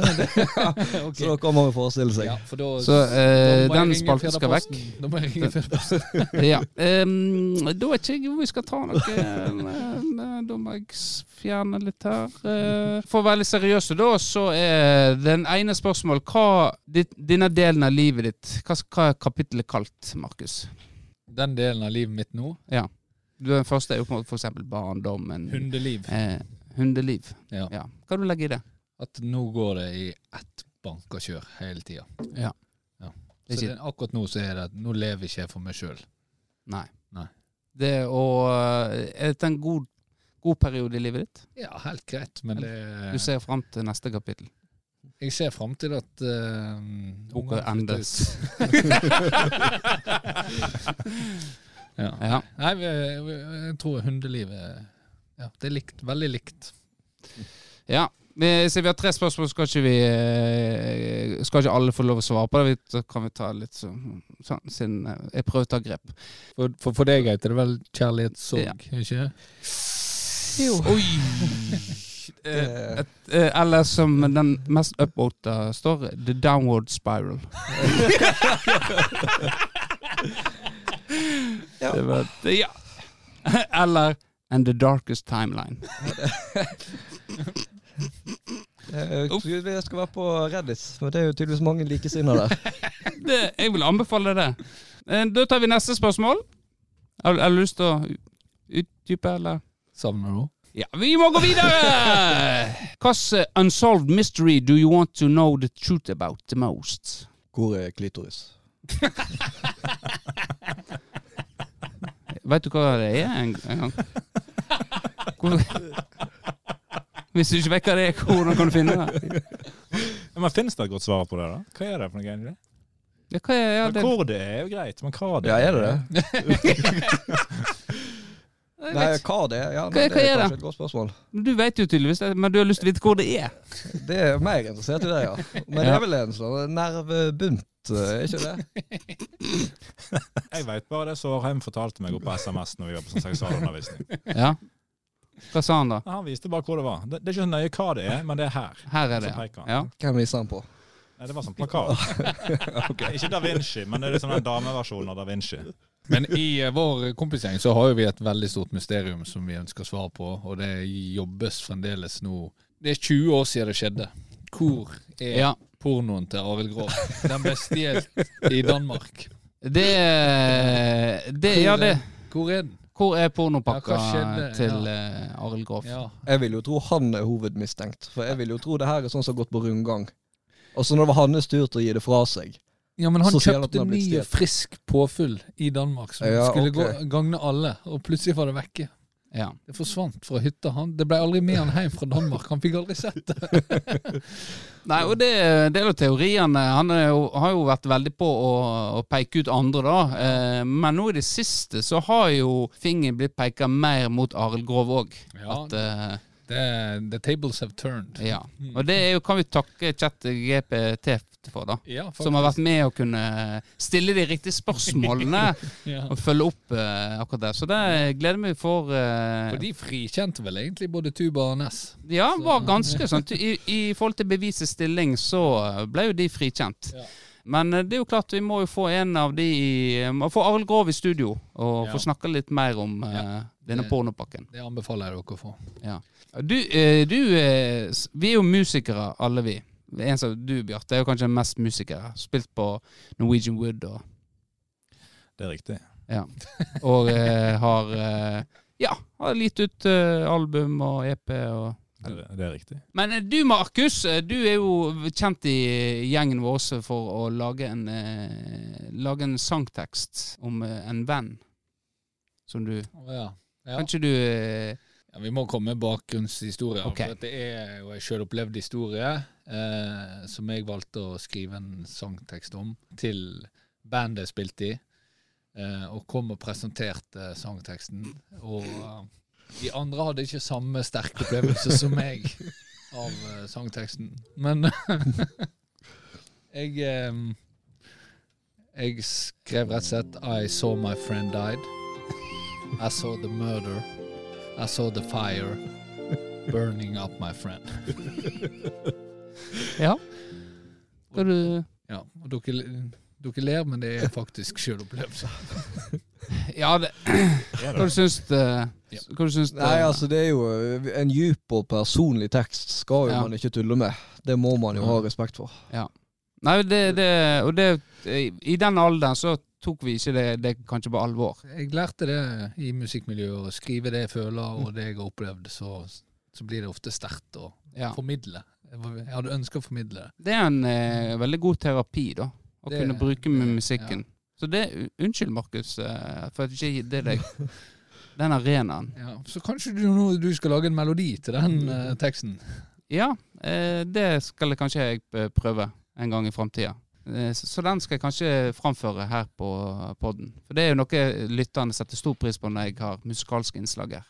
Ok. Så da kan man jo forestille seg. Ja, for da, så eh, da må jeg den ringe spalten skal vekk. Fjerdaposten. Da må jeg ringe Fjerdaposten. Ja. Ehm, da vet ikke jeg hvor vi skal ta noe. eh, Da må jeg s- fjerne litt her. Eh, For å være litt seriøse, da, så er den ene spørsmålet Hva ditt- denne delen av livet ditt Hva, hva er kapittelet kalt, Markus? Den delen av livet mitt nå, Du er den første er jo på en måte for eksempel barndommen. hundeliv, Eh, hundeliv. Ja. ja. Hva du legger i det? at nå går det i ett bank og kjør hele tida. Ja. Så det, akkurat nå så er det at nå lever ikke jeg for meg sjøl. Nei. Nei. Det å eh, Er dette en god, god periode i livet ditt? Ja, helt greit, men det Du ser fram til neste kapittel. Jeg ser fram til at uh, Boka endes. ja. Ja. Nei, vi, vi, jeg tror hundelivet ja, Det er likt, veldig likt. Ja. Vi, så vi har tre spørsmål, skal ikke, vi, eh, skal ikke alle få lov å svare på det? Vi- Da kan vi ta litt så- sånn, siden eh, jeg prøver å ta grep. For, for, for deg, Gaute, det er vel kjærlighetssorg, Ja. ikke? Oi! Eh, et, eh, eller som den mest upvota står, The Downward Spiral. Ja. Det var, det- ja. Eller And The Darkest Timeline. Eh, Vi skal være på Reddit, men det er jo tydeligvis mange likesinnede der. Det, jeg vil anbefale det. Eh, Da tar vi neste spørsmål. Har, har du lyst til å utdype, eller? Savner du Ja, vi må gå videre! Hvilken unsolved mystery do you want to know the truth about the most? Hvor er klitoris? Vet du hva det er en, en gang? Hvor, hvis du ikke vet hva det er, hvordan kan du finne det? Ja, Men finnes det et godt svar på det, da? Hva er det for noe egentlig? Ja, hva er, ja, Men det, Hvor det er jo greit, men hva det Ja, er det det? jeg Nei, vet. hva det er? Ja, Hva- nei, hva det er er det? kanskje et godt spørsmål. Du vet jo tydeligvis det, men du har lyst til å vite hvor det er. Det er mer interessert i det, ja. Men det er vel en sånn nervebunt, eh, er ikke det? Jeg vet bare det Sårheim fortalte meg opp på SMS når vi var på sånn seksualundervisning. Ja. Hva sa han da? Ja, Han viste bare hvor det var. Det, det er ikke så nøye hva det er, men det er her. Her er Så det, peker han. ja. Hvem viser han på? Nei, det var sånn plakat. Ikke Da Vinci, men det er liksom den dameversjonen av Da Vinci. Men i eh, vår kompisgjeng så har jo vi et veldig stort mysterium som vi ønsker svar på, og det jobbes fremdeles nå. Det er 20 år siden det skjedde. Hvor er Ja. pornoen til Arild Grov? Den ble stjålet i Danmark. Det, det Ja, det. Hvor er den? Hvor er Ja, pornopakka hva skjedde? til eh, Arild Grov? Ja. Jeg vil jo tro han er hovedmistenkt, for jeg vil jo tro det her er sånn som har gått på rundgang. Og så når det var hans tur til å gi det fra seg. ja, men han Så sier han at den har kjøpte blitt ny, stjålet. frisk påfyll i Danmark som Ja, skulle ok. gå, gagne alle, og plutselig var det vekke. Ja. Det forsvant fra hytta. Han, det ble aldri med han hjem fra Danmark. Han fikk aldri sett det. Nei, og det, det er jo teoriene. Han er jo, har jo vært veldig på å, å peke ut andre, da. Eh, men nå i det siste så har jo fingeren blitt peka mer mot Arild Grov òg. Ja, At, eh, det- the tables have turned. ja. Mm. Og det er jo, kan vi takke ChatGPT for, da. Ja, faktisk. Som har vært med å kunne stille de riktige spørsmålene Ja. og følge opp eh, akkurat det. Så det gleder vi for. eh, For de frikjente vel egentlig både Tuba og Ness. ja, var ganske sånn. I, I forhold til bevisets stilling så eh, ble jo de frikjent. Ja. Men eh, det er jo klart vi må jo få en av de i eh, Må få Arild Grov i studio og Ja. få snakke litt mer om eh, denne Det- pornopakken. Det anbefaler jeg dere å få. Du, eh, du eh, s- Vi er jo musikere, alle vi. Det er En som du, Bjarte, er jo kanskje mest musikere. Spilt på Norwegian Wood og Det er riktig. Og eh, har eh, Ja, har gitt ut eh, album og EP og Det, det er riktig. Men eh, du Markus, eh, du er jo kjent i eh, gjengen vår også for å lage en eh, Lage en sangtekst om eh, en venn som du Å, Ja. Ja. Kan ikke du eh, Ja, vi må komme med bakgrunnshistorier. Ok. For at det er jo en selvopplevd historie eh, som jeg valgte å skrive en sangtekst om til bandet jeg spilte i. Eh, og kom og presenterte sangteksten. Og eh, de andre hadde ikke samme sterke opplevelse som meg av eh, sangteksten. Men jeg eh, Jeg skrev rett og slett I saw my friend died. I saw the murder. I saw the fire burning up my friend. Ja? Skal du Ja, og dere, dere ler, men det er faktisk sjølopplevelse. Ja, det, hva du syns eh, Ja. Hva du syns Nei, altså det er jo En djup og personlig tekst skal jo Ja. man ikke tulle med. Det må man jo ha respekt for. Nei, det, det Og det I den alderen så tok vi ikke det, det kanskje på alvor. Jeg lærte det i musikkmiljøet, å skrive det jeg føler og det jeg har opplevd, så, så blir det ofte sterkt å Ja. formidle. Jeg hadde ønska å formidle det. Det er en eh, veldig god terapi, da. Å Det- kunne bruke med det- musikken. Så det Unnskyld, Markus, eh, for at jeg ikke gir deg den arenaen. Ja, så kanskje du nå du skal lage en melodi til den eh, teksten? Ja, eh, det skal jeg kanskje jeg eh, prøve en gang i framtida. Eh, så- så den skal jeg kanskje framføre her på podden. For det er jo noe lytterne setter stor pris på når jeg har musikalske innslag her.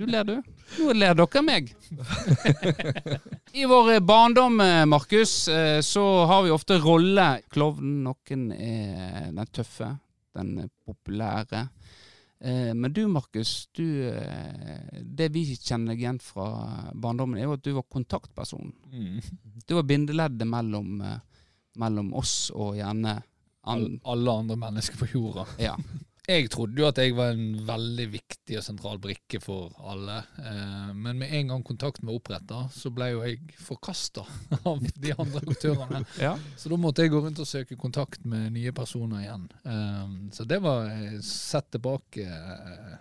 Du ler, du. Nå ler dere meg. I vår eh, barndom, eh, Markus, eh, så har vi ofte roller. Klovnen, noen er den tøffe, den populære. Eh, Men du Markus, du, eh, det vi kjenner deg igjen fra barndommen, er jo at du var kontaktpersonen. Du var bindeleddet mellom, eh, mellom oss og gjerne All, an... alle andre mennesker på jorda. Ja. Jeg trodde jo at jeg var en veldig viktig og sentral brikke for alle, eh, men med en gang kontakten var oppretta, så ble jo jeg forkasta av de andre aktørene. Ja. Så da måtte jeg gå rundt og søke kontakt med nye personer igjen. Eh, Så det var eh, sett tilbake eh,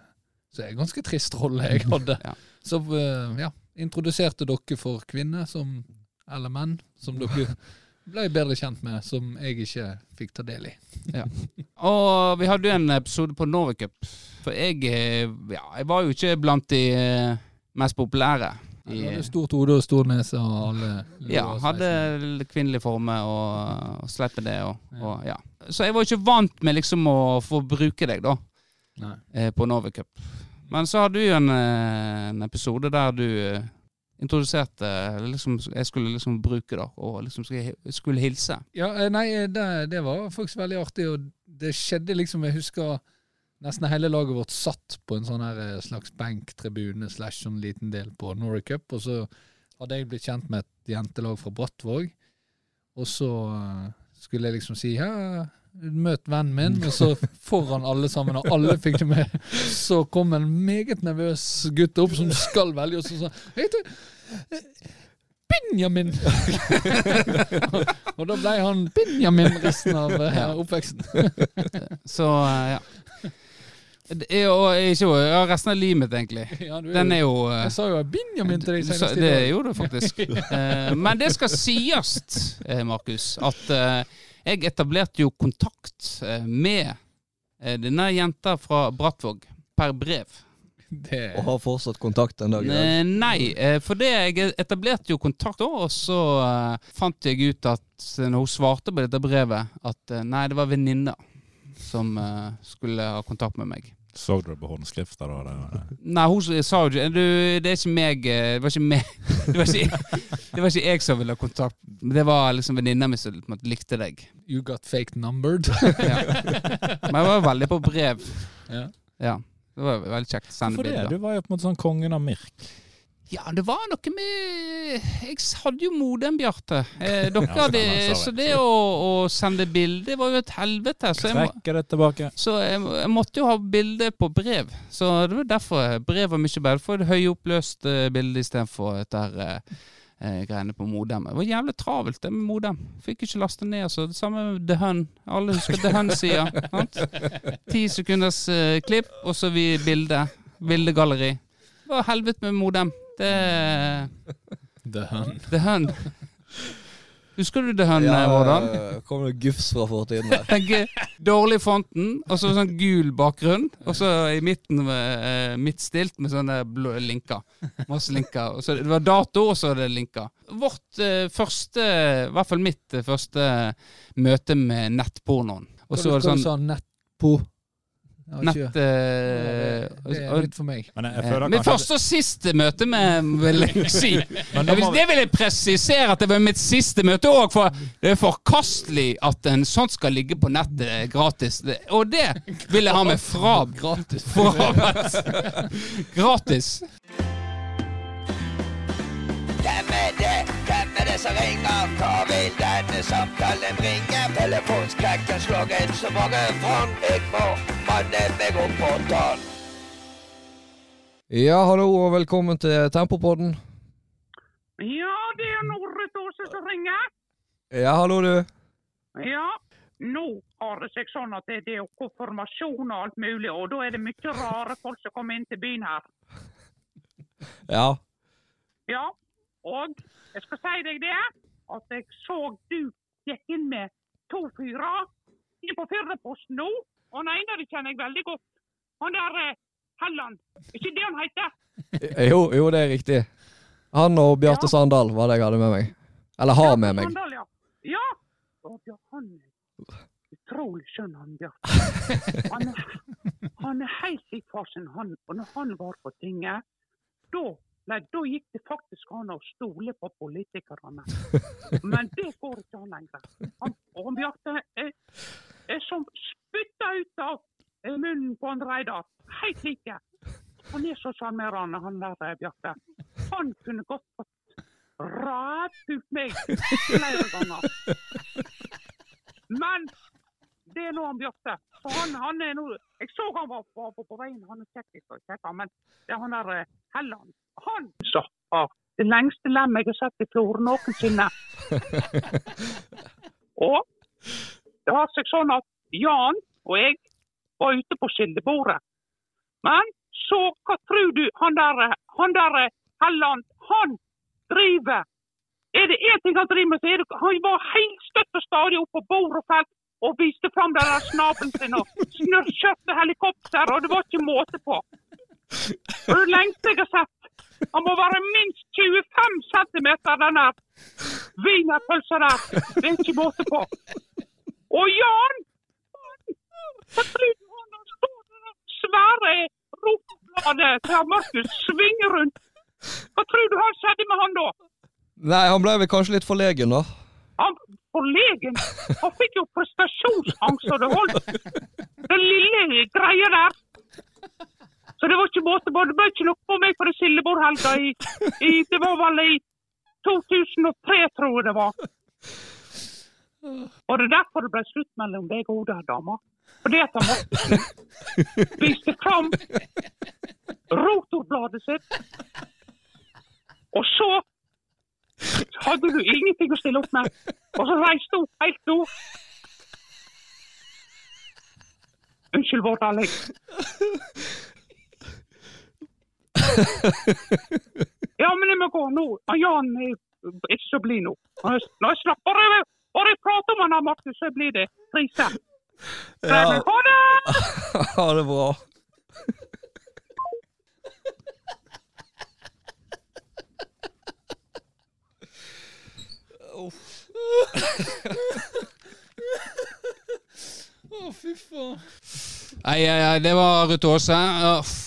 Så er det en ganske trist rolle jeg hadde. Ja. Så eh, ja, introduserte dere for kvinner som, eller menn, som dere ble bedre kjent med, som jeg ikke fikk ta del i. Og vi hadde jo en episode på Norwecup, for jeg, eh, ja, jeg var jo ikke blant de eh, mest populære. Du I, hadde stort hode og stor nese og alle lå ja, og hadde sveisen. l- kvinnelige former og, og sleipe det. Og, Ja. og, ja. Så jeg var ikke vant med liksom å få bruke deg, da. Nei. eh, på Norway Cup. Men så hadde du jo en, eh, en episode der du eh, introduserte eh, liksom, Jeg skulle liksom bruke det, og liksom skulle, skulle hilse. Ja, eh, nei, eh, det, det var faktisk veldig artig, og det skjedde liksom Jeg husker nesten hele laget vårt satt på en sånn her eh, slags benk, tribune, slash sånn liten del på Norway Cup, og så hadde jeg blitt kjent med et jentelag fra Brattvåg, og så eh, skulle jeg liksom si ja, møt vennen min, og så foran alle sammen, og alle fikk det med, så kom en meget nervøs gutt opp som skal velge, og så sa han heter Benjamin! og da ble han Benjamin resten av eh, oppveksten. Så eh, ja. Det er jo ikke jo- ja, resten av livet mitt, egentlig. Ja, du er Den jo- er jo eh, Jeg sa jo Benjamin til deg du sa- senest i Det dag. gjorde du faktisk. Eh, Men det skal sies, eh, Markus, at eh, jeg etablerte jo kontakt eh, med eh, denne jenta fra Brattvåg per brev. Det, Og har fortsatt kontakt en dag i dag. Eh, Nei, eh, for det jeg etablerte jo kontakt da, og så eh, fant jeg ut at eh, når hun svarte på dette brevet, at eh, nei, det var venninna som eh, skulle ha kontakt med meg. Så du det på håndskrifta, da? Det, Nei, hun s- sa jo ikke du, Det er ikke meg eh, Det var ikke meg Det var ikke, det var ikke jeg som ville ha kontakt. Det var liksom venninna mi som på en måte likte deg. You got fake numbered. Ja. Men jeg var veldig på brev. ja. Ja. Det var veldig kjekt å sende for det, bilder. du var jo på en måte sånn kongen av Mirk. Ja, det var noe med Jeg hadde jo modem, Bjarte. Eh, dere Ja, hadde stemmer, Så sorry. det å, å sende bilde var jo et helvete. Så jeg, må- Trekker det tilbake. så jeg, må- jeg måtte jo ha bilde på brev. Så det var derfor brev var mye bedre. For et høyoppløst eh, bilde istedenfor dette her eh, eh, greiene på modem. Det var jævlig travelt det med modem. Fikk ikke laste ned. Så det samme med The Hun. Alle husker The Hun-sida. Ti sekunders eh, klipp, og så vi bilde. Bildegalleri. Det var helvete med modem. Det eh, The Hun. The Hun. Husker du The Hun, ja, Vårdal? eh, kommer det gufs fra fortiden der. Den g- dårlige fonten, og så sånn gul bakgrunn, og så i midten med, eh, midtstilt med sånne blå linker. Masse linker. Og så det var dato, og så er det linker. Vårt eh, første, i hvert fall mitt eh, første møte med nettpornoen. Og så var det sånn sånn nettpo. nett... Eh, Det og- er nytt for meg. Men jeg, jeg Eh, føler Mitt kanskje første og siste møte med vil jeg si. Men Jeg nå vil, må vi- det vil jeg presisere at det var mitt siste møte òg, for det er forkastelig at en sånt skal ligge på nettet gratis. Det- Og det vil jeg ha meg fra. Gratis. gratis. Hvem er det? Hvem er det som ringer? Hva vil denne samtalen bringe? Telefonskrekken slår inn så mange fond. Jeg må manne meg opp på tårn. Ja, hallo og velkommen til Tempopodden. Ja, det er Norrit Aase som ringer. Ja, hallo du. Ja. Nå har det seg sånn at det er jo konfirmasjon og alt mulig, og da er det mye rare folk som kommer inn til byen her. Ja. Ja, og jeg skal si deg det, at jeg så du gikk inn med to fyrer inn på Firdaposten nå, og den ene av de kjenner jeg veldig godt. Han der eh, Helland, ikke det han heter? Eh, Jo, jo, det er riktig. Han og Bjarte Ja. Sandal var det jeg hadde med meg. Eller har med meg. Sandal, ja. ja. Og Bjørn, han er utrolig skjønn, han Bjørn. Han er, han er helt i fasen, han. Og når han var på tinget, da Nei, da gikk det faktisk an å stole på politikerne. Men det går ikke an lenger. Han, og han Bjarte er, er som spytta ut av eh, munnen på han Reidar. Helt like. Han er så sjarmerende, han der eh, Bjarte. Han kunne godt fått rævpult meg flere ganger. Men det er nå han Bjarte. For han, han er nå Jeg så han var på, på, på veien, han er kjekk, jeg skal ikke kjekke han, men det er han der eh, Helland. Han som har det lengste lemmet jeg har sett i fjor noensinne. og det har seg sånn at Jan og jeg var ute på skillebordet. Men så, hva tror du, han der, eh, han der eh, Helland, han driver er det én ting han driver med, så er det Han var helt støtt og stadig oppe på bordet og felt og viste fram den der snabelen sin og snørrkjørte helikopter, og det var ikke måte på. Og det lengste jeg har sett. Han må være minst 25 cm, den der wienerpølsa der. Det er ikke måte på. Og Jan Hva tror du han har stått med det svære rotbladet til han Markus svinge rundt? Hva tror du han skjedde med han da? Nei, han ble vel kanskje litt forlegen, da. Han forlegen han fikk jo prestasjonsangst og det holdt. Den lille greia der. Så det var ikke måte på. Det ble ikke noe på meg på det sildebordet helga i, i Det var vel i 2003, tror jeg det var. Og det er derfor det ble slutt mellom deg og den dama. Fordi at han Morten viste fram rotorbladet sitt, og så hadde du ingenting å stille opp med. Og så reiste hun helt nå. Unnskyld vårt anlegg. Ja, men jeg må gå nå. Ah, Han Jan er ikke så blid nå. Han er- Når jeg slapper av Bare jeg prater om han her, Martin, så blir det Ja. krise. Men Ha det! Ha det bra. Å, fy faen. Nei, nei, nei, det var Ruth Aase. Uff.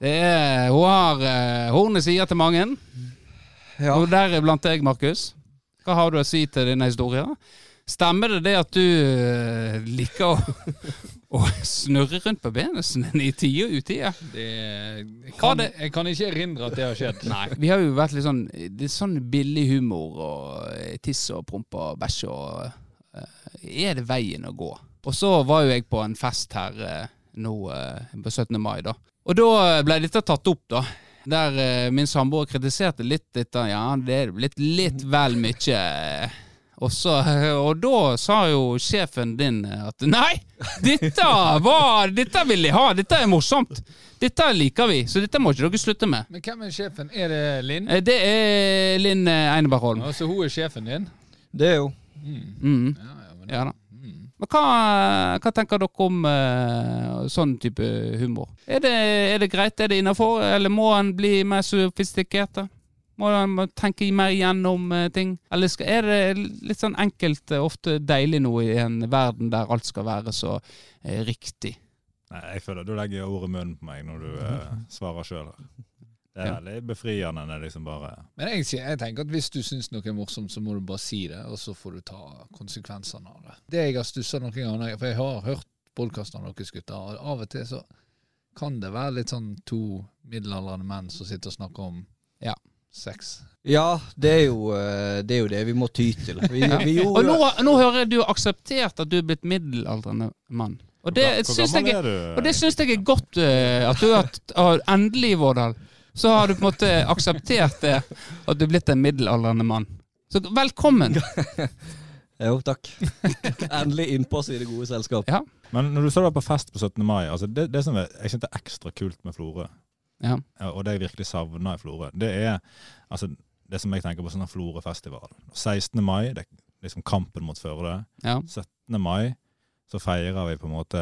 Det er, hun har eh, hornet sier til mange, Ja. og deriblant deg, Markus. Hva har du å si til denne historien? Stemmer det det at du eh, liker å, å snurre rundt på benesen i tide og utide? Det, jeg, Ha kan, det. jeg kan ikke erindre at det har skjedd. Nei, vi har jo vært litt sånn Det er sånn billig humor og eh, tiss og promp og bæsj og eh, Er det veien å gå? Og så var jo jeg på en fest her eh, nå eh, på 17. mai, da. Og da eh, ble dette tatt opp, da. Der eh, min samboer kritiserte litt dette. Ja, det er blitt litt vel mye. eh, Og, så, og da sa jo sjefen din eh, at nei, dette, var, dette vil jeg ha, dette er morsomt. Dette liker vi, så dette må ikke dere slutte med. Men hvem er sjefen? Er det Linn? Eh, Det er Linn eh, Einebergholm. Ja, så hun er sjefen din? Det er jo Mm. Ja, ja, men, Ja da. Men hva, hva tenker dere om eh, sånn type humor? Er det, er det greit? Er det innafor? Eller må en bli mer sofistikert? da? Må en må tenke mer gjennom eh, ting? Eller skal, er det litt sånn enkelt, eh, ofte deilig nå i en verden der alt skal være så eh, riktig? Nei, jeg føler du legger ordet i munnen på meg når du eh, svarer sjøl her. Det er Ja. veldig befriende når det liksom bare men jeg, sier- jeg tenker at hvis du syns noe er morsomt, så må du bare si det, og så får du ta konsekvensene av det. Det jeg har stussa noen ganger, for jeg har hørt podkasten av deres gutter, og av og til så kan det være litt sånn to middelaldrende menn som sitter og snakker om Ja. sex. Ja, det er jo eh, det, er jo det vi må ty til. Vi, vi Og gjorde nå, nå hører jeg du har akseptert at du er blitt middelaldrende mann. Og det Hvor syns gammel jeg er er du? Og det syns jeg er godt eh, at du har har- endelig, Vårdal, så har du på en måte akseptert det, at du er blitt en middelaldrende mann. Så velkommen. Jo, takk. Endelig innpass i det gode selskap. Men når du så det på fest på 17. mai, altså det, det som er, jeg synes det er ekstra kult med Florø, Ja. eh, og det jeg virkelig savner i Florø, det er altså, det som jeg tenker på sånn Florø-festival. 16. mai, det er liksom kampen mot Førde. Ja. 17. mai så feirer vi på en måte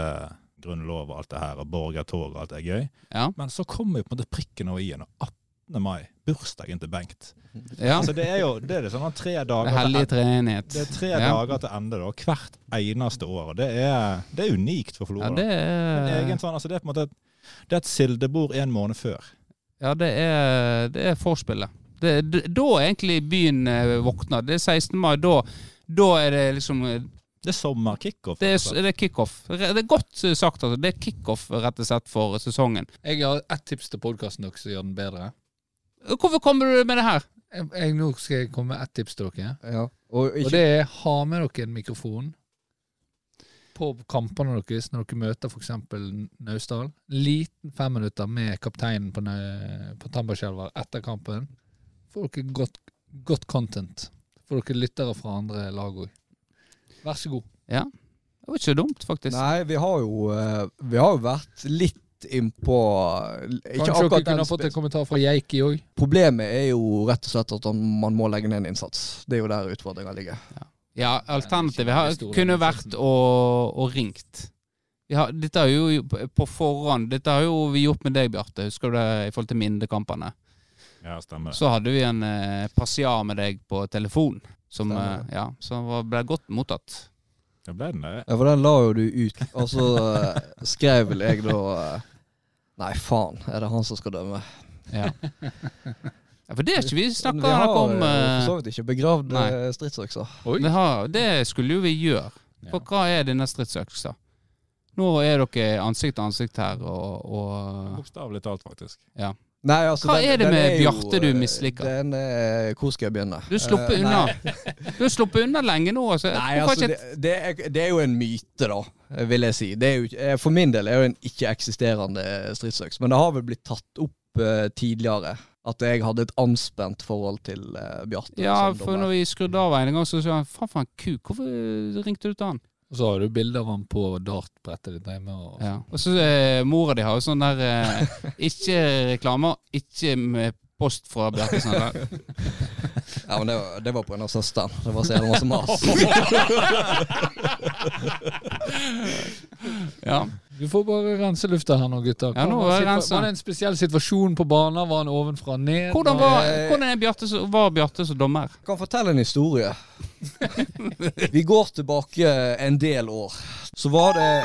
grunnlov og alt det her, og borgertog og alt det er gøy. Ja. Men så kommer jo på en måte prikken over i-en, og 18. mai, bursdagen til Bengt. ja. Altså det er jo, det er liksom tre dager Det hellige treenighet. Det er tre Ja. dager til ende da, hvert eneste år. og Det er, det er unikt for Florø. Ja, det Det er er, egen sånn, altså det er på en måte et, det er et sildebord en måned før. ja, det er, det er forspillet. Det, er d- da egentlig byen eh, våkner. Det er 16. mai. Da, da er det liksom eh, Det er altså. sommerkickoff. Det er, s- det er kickoff. Re- Det er godt eh, sagt, altså. Det er kickoff, rett og slett, for sesongen. Jeg har ett tips til podkasten deres som gjør den bedre. Hvorfor kommer du med det her? Jeg, jeg, nå skal jeg komme med ett tips til dere. Ja. Og Og ikke det er ha med dere en mikrofon på kampene deres når dere møter f.eks. Naustdal. Liten femminutter med kapteinen på, Nau- på Tambarskjelva etter kampen. Får dere godt, godt content. Får dere lyttere fra andre lag òg. Vær så god. Det var ikke dumt, faktisk. Nei, vi har jo, eh, vi har jo vært litt innpå Ikke Kanskje dere akkurat den kunne ha fått en spes- kommentar fra Jeiki òg. Problemet er jo rett og slett at man må legge ned en innsats. Det er jo der utfordringa ligger. Ja, alternativet veldig har, store kunne vært muligheten. å, å ringt. Vi har, dette har jo på forhånd Dette har jo vi gjort med deg, Bjarte, husker du det, i forhold til minnekampene. Ja, stemmer det. Så hadde vi en eh, passiar med deg på telefon, som, Stemmer eh, ja, som var, ble godt mottatt. Det ble den det. Ja, For den la jo du ut, og så eh, skrev vel jeg da eh, Nei, faen, er det han som skal dømme? Ja. ja, for det er ikke vi Men snakka vi har noe om jo for så eh, vidt ikke begravd nei. eh, stridsøkser. det, har, det skulle jo vi gjøre. For hva er denne stridsøksa? Nå er dere ansikt til ansikt her, og, og Bokstavelig talt, faktisk. Nei, altså, Hva er det med jo, Bjarte du misliker? Den, eh, hvor skal jeg begynne? Du har sluppet Eh, nei. unna Du har sluppet unna lenge nå. Altså. Nei, Hvorfor altså, ikke- det, det, er, det er jo en myte, da, vil jeg si. Det er jo, ikke- eh, for min del er jo en ikke-eksisterende stridsøks. Men det har vel blitt tatt opp eh, tidligere at jeg hadde et anspent forhold til eh, Bjarte. ja, som for dommer. når vi skrudde av en gang, så sa han faen for en kuk, hvorfor ringte du til han? Og så har du bilder av han på dartbrettet ditt hjemme. Og, Ja. Og så eh, mora di har jo sånn der eh, Ikke reklamer, ikke med post fra Bjarte Sandal. ja, men det var, det var på en av søsteren. Det var så jævla masse mas. Ja. Du får bare rense lufta her nå, gutter. Ja, nå var, er det situa- rensa. var det en spesiell situasjon på banen? Var han ovenfra og ned? Hvordan var, hvordan er Bjarte, som- var Bjarte som dommer? Jeg kan fortelle en historie. Vi går tilbake en del år. Så var det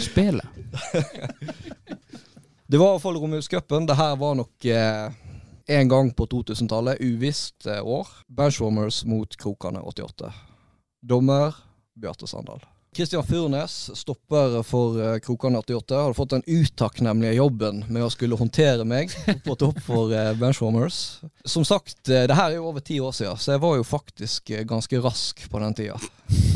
Spelet. Det var i hvert fall Romjulscupen. Det her var nok eh, en gang på 2000-tallet. Uvisst eh, år. Benchwarmers mot Krokane 88. Dommer Bjarte Sandal. Kristian Furnes, stopper for eh, Krokane 88, hadde fått den utakknemlige jobben med å skulle håndtere meg på topp for eh, Benchwarmers. Som sagt, eh, det her er jo over ti år siden, så jeg var jo faktisk eh, ganske rask på den tida.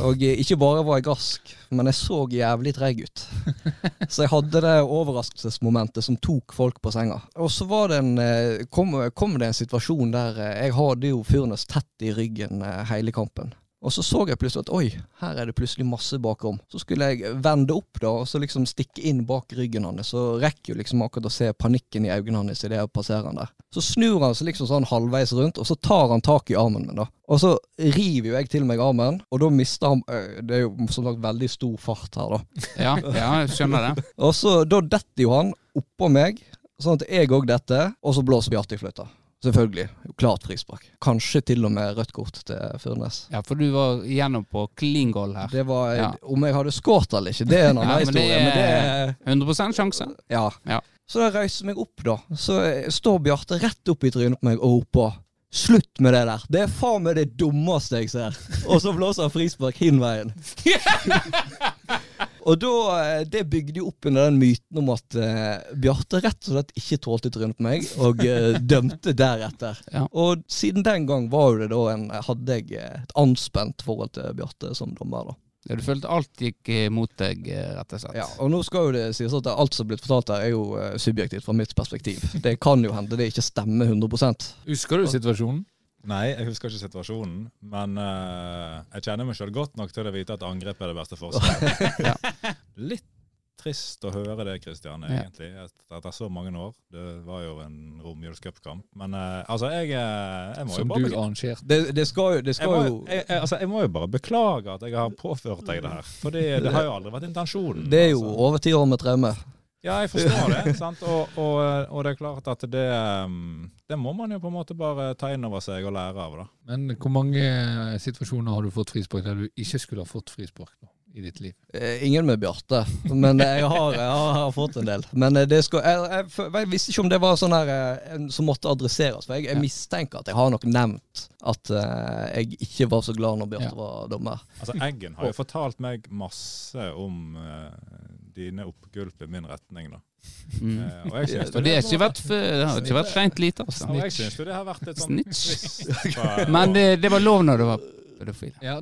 Og eh, ikke bare var jeg rask, men jeg så jævlig treig ut. Så jeg hadde det overraskelsesmomentet som tok folk på senga. Og så var det en, eh, kom, kom det en situasjon der eh, jeg hadde jo Furnes tett i ryggen eh, hele kampen. Og så så jeg plutselig at oi, her er det plutselig masse bakom. Så skulle jeg vende opp da, og så liksom stikke inn bak ryggen hans. Så rekker jo liksom akkurat å se panikken i øynene hans idet jeg passerer han der. Så snur han seg liksom sånn halvveis rundt, og så tar han tak i armen min, da. Og så river jo jeg til meg armen, og da mister han øh, Det er jo som sagt veldig stor fart her, da. Ja, ja, jeg skjønner det. Og så Da detter jo han oppå meg, sånn at jeg òg detter, og så blåser Bjarte i fløyta. Selvfølgelig. Klart frispark. Kanskje til og med rødt kort til Furnes. Ja, For du var igjennom på klingål her. Det var, Ja. Om jeg hadde skåret eller ikke, det er en annen Ja, men det historie. er- Men det er 100 sjanse. Ja. Ja. Så da reiser jeg meg opp, da. Så eh, står Bjarte rett opp i trynet på meg og roper Slutt med det der! Det er faen meg det dummeste jeg ser! Og så blåser han frispark hin veien. og da, eh, det bygde jo opp under den myten om at eh, Bjarte rett og slett ikke tålte trynet på meg, og eh, dømte deretter. Ja. Og siden den gang var jo det da en, hadde jeg eh, et anspent forhold til Bjarte som dommer, da. Ja, Du følte alt gikk eh, mot deg, eh, rett og slett. Ja, og nå skal jo det sies at alt som er blitt fortalt her, er jo eh, subjektivt fra mitt perspektiv. Det kan jo hende det ikke stemmer 100 Husker du situasjonen? Nei, jeg husker ikke situasjonen, men eh, jeg kjenner meg sjøl godt nok til å vite at angrep er det beste forsvaret. Litt trist å høre det, Kristian, Ja. egentlig, et- etter så mange år. Det var jo en romjulscupkamp. Men eh, altså, jeg, eh, jeg må jo Som bare du beklage. arrangerte? Det, det skal jo, det Jeg skal må, jo jeg, jeg, altså, jeg må jo bare beklage at jeg har påført deg det her. For det har jo aldri vært intensjonen. Det er jo altså. over ti år med traume. Ja, jeg forstår det. sant? Og, og, og det er klart at det um, Det må man jo på en måte bare ta inn over seg og lære av, da. Men hvor mange eh, situasjoner har du fått frispark der du ikke skulle ha fått frispark nå, i ditt liv? Eh, Ingen med Bjarte, men eh, jeg har, jeg har, jeg har fått en del. Men eh, det skal, jeg, jeg, f- jeg visste ikke om det var sånn her eh, en som måtte adresseres. For jeg, jeg mistenker at jeg har nok nevnt at eh, jeg ikke var så glad når Bjarte Ja. var dommer. Altså, Eggen har jo fortalt meg masse om eh, dine oppgulp i min retning, da. Mm. Eh, og jeg synes Og det har ikke vært, f- det har ikke vært rent lite, altså. Ja, og jeg synes jo det har vært et sånt Snitch. twist fra- Men eh, det, det var lov når du var pedofil. Ja,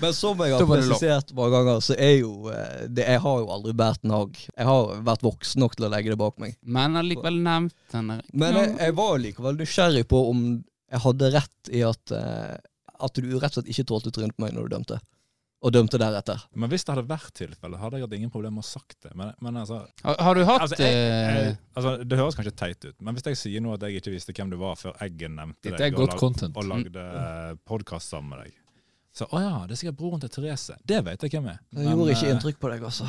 Men som jeg Da har var det lov. presisert mange ganger, så er jo eh, det, Jeg har jo aldri båret en agg. Jeg har vært voksen nok til å legge det bak meg. Men allikevel nevnt den der. Men jeg, jeg var likevel nysgjerrig på om jeg hadde rett i at eh, At du rett og slett ikke tålte trynet på meg når du dømte. Og dømte deretter. Men hvis det hadde vært tilfelle, hadde jeg hatt ingen problemer med å sagt det. Men, men altså, Har, har du hatt altså, jeg, jeg, eh, altså, Det høres kanskje teit ut, men hvis jeg sier nå at jeg ikke visste hvem du var før Eggen nevnte Dette deg er og godt lag- content. Mm. og lagde podkast sammen med deg. Så å ja, det er sikkert broren til Therese. Det vet jeg hvem er. Det Men, gjorde ikke eh, inntrykk på deg, altså.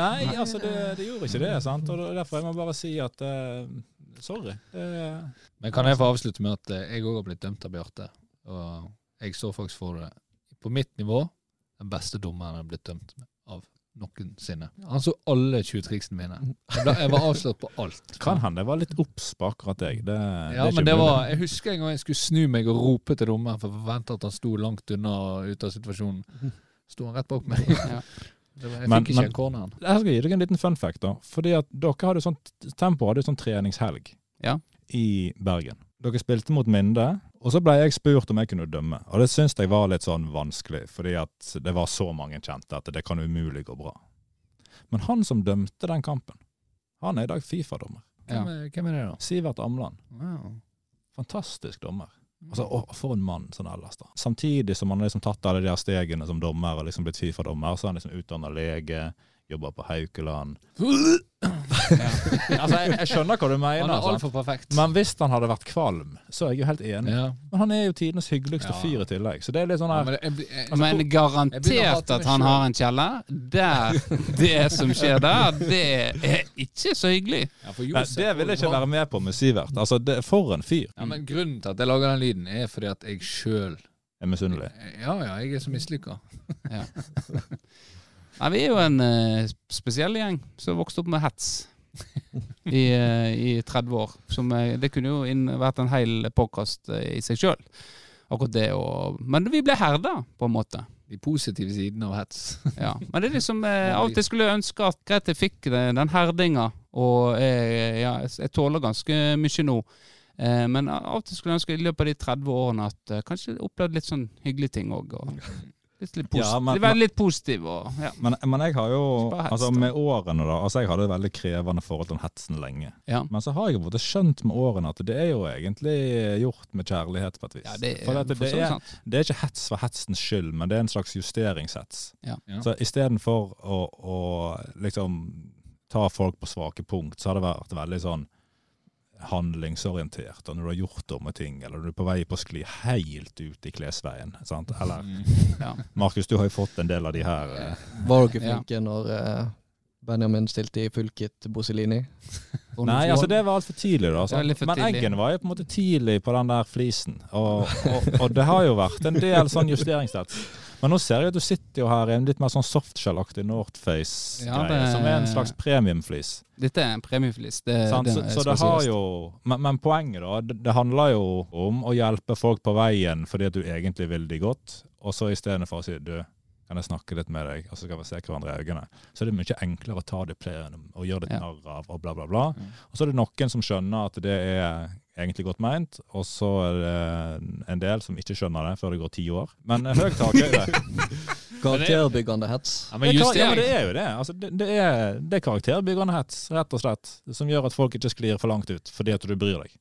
Nei, altså det, det gjorde ikke det. sant? Og da- Derfor jeg må bare si at eh, sorry. Det- Men kan jeg få avslutte med at eh, jeg òg har blitt dømt av Bjarte. Og jeg står faktisk for det på mitt nivå den beste dommeren jeg har blitt dømt av noensinne. Han så alle 20-triksene mine. Jeg, ble, jeg var avslått på alt. kan hende jeg var litt obs på akkurat deg. Det, Ja, det er ikke men det mulig. var, Jeg husker en gang jeg skulle snu meg og rope til dommeren for å forvente at han sto langt unna og ute av situasjonen. Sto han rett bak meg. Ja. Det var- Jeg Men- fikk ikke men- en corneren. Jeg skal gi dere en liten fun fact, da. Fordi at dere hadde sånn, Tempo hadde sånn treningshelg Ja. i Bergen. Dere spilte mot Minde, og så ble jeg spurt om jeg kunne dømme. Og det syns jeg var litt sånn vanskelig, fordi at det var så mange kjente at det kan umulig gå bra. Men han som dømte den kampen, han er i dag Fifa-dommer. Hvem, er- hvem er det, da? Sivert Amland. Wow. Fantastisk dommer. Mm. Altså, å, For en mann sånn ellers, da. Samtidig som han har liksom tatt alle de her stegene som dommer, og liksom blitt Fifa-dommer, så er han liksom utdanna lege, jobber på Haukeland Altså, jeg, jeg skjønner hva du Han mener, er sant? altfor perfekt. men hvis han hadde vært kvalm, så er jeg jo helt enig. ja. Men han er jo tidenes hyggeligste Ja. fyr i tillegg, så det er litt sånn Ja, her men det- jeg blir- jeg- Men Altså, Jeg begynner å garantert hate meg at han selv. har en kjeller der det som skjer der, det er ikke så hyggelig. ja, for Nei, Josef det vil jeg ikke var- være med på med Sivert. Altså, det, for en fyr. Ja, men Grunnen til at jeg lager den lyden, er fordi at jeg sjøl Jeg er misunnelig. Ja, ja, jeg er så mislykka. Nei, vi er jo en eh, spesiell gjeng som vokste opp med hets i, eh, i 30 år. Som, eh, det kunne jo inn, vært en hel podkast i seg sjøl. Akkurat det og Men vi ble herda, på en måte. De positive sidene av hets. Ja. Men det er liksom eh, Av og til skulle jeg ønske at greit, jeg fikk den, den herdinga, og eh, ja, jeg, jeg tåler ganske mye nå. Eh, men av og til skulle jeg ønske i løpet av de 30 årene at eh, kanskje jeg opplevde litt sånn hyggelige ting òg. Og litt, litt Ja, positiv, men- være litt positiv og ja. Men, men jeg har jo Bare hets, Altså, da. med årene, da. Altså, jeg hadde et veldig krevende forhold til hetsen lenge. Ja. Men så har jeg på en måte skjønt med årene at det er jo egentlig gjort med kjærlighet, på et vis. Ja, det, for er at det, for så vidt er, sant. det er ikke hets for hetsens skyld, men det er en slags justeringshets. Ja. Ja. Så istedenfor å, å liksom ta folk på svake punkt, så har det vært veldig sånn handlingsorientert. Og når du har gjort dumme ting, eller du er på vei på å skli helt ut i klesveien. sant? Eller Mm. Ja. Markus, du har jo fått en del av de her. eh, Var dere Ja. flinke når eh, Benjamin stilte i fullkit Boselini? Nei, altså det var altfor tidlig, da. Det var litt Sant? for Men tidlig. Eggen var jo på en måte tidlig på den der flisen. Og, og, og det har jo vært en del sånn justeringssats. Men nå ser jeg at du sitter jo her i en litt mer sånn softshell-aktig Northface-greie, Ja, det- som er en slags premiumflis. Dette er en premieflis. Det, Sant? Eh, det, Så, så skal det har sies. jo men, men poenget, da, det, det handler jo om å hjelpe folk på veien fordi at du egentlig vil de godt, og så istedenfor å si du kan jeg snakke litt med deg, og så skal vi se hverandre i øynene. Så er det mye enklere å ta det plenum og gjøre det Ja. Mm. et narr av og bla, bla, bla. Og så er det noen som skjønner at det er egentlig godt meint, og så er det en del som ikke skjønner det før det går ti år. Men eh, høy takhøyde Karakterbyggende hets. Ja, det men er kar- ja, men justering det er jo det. Altså, det, det, er, det er karakterbyggende hets, rett og slett, som gjør at folk ikke sklir for langt ut fordi at du bryr deg.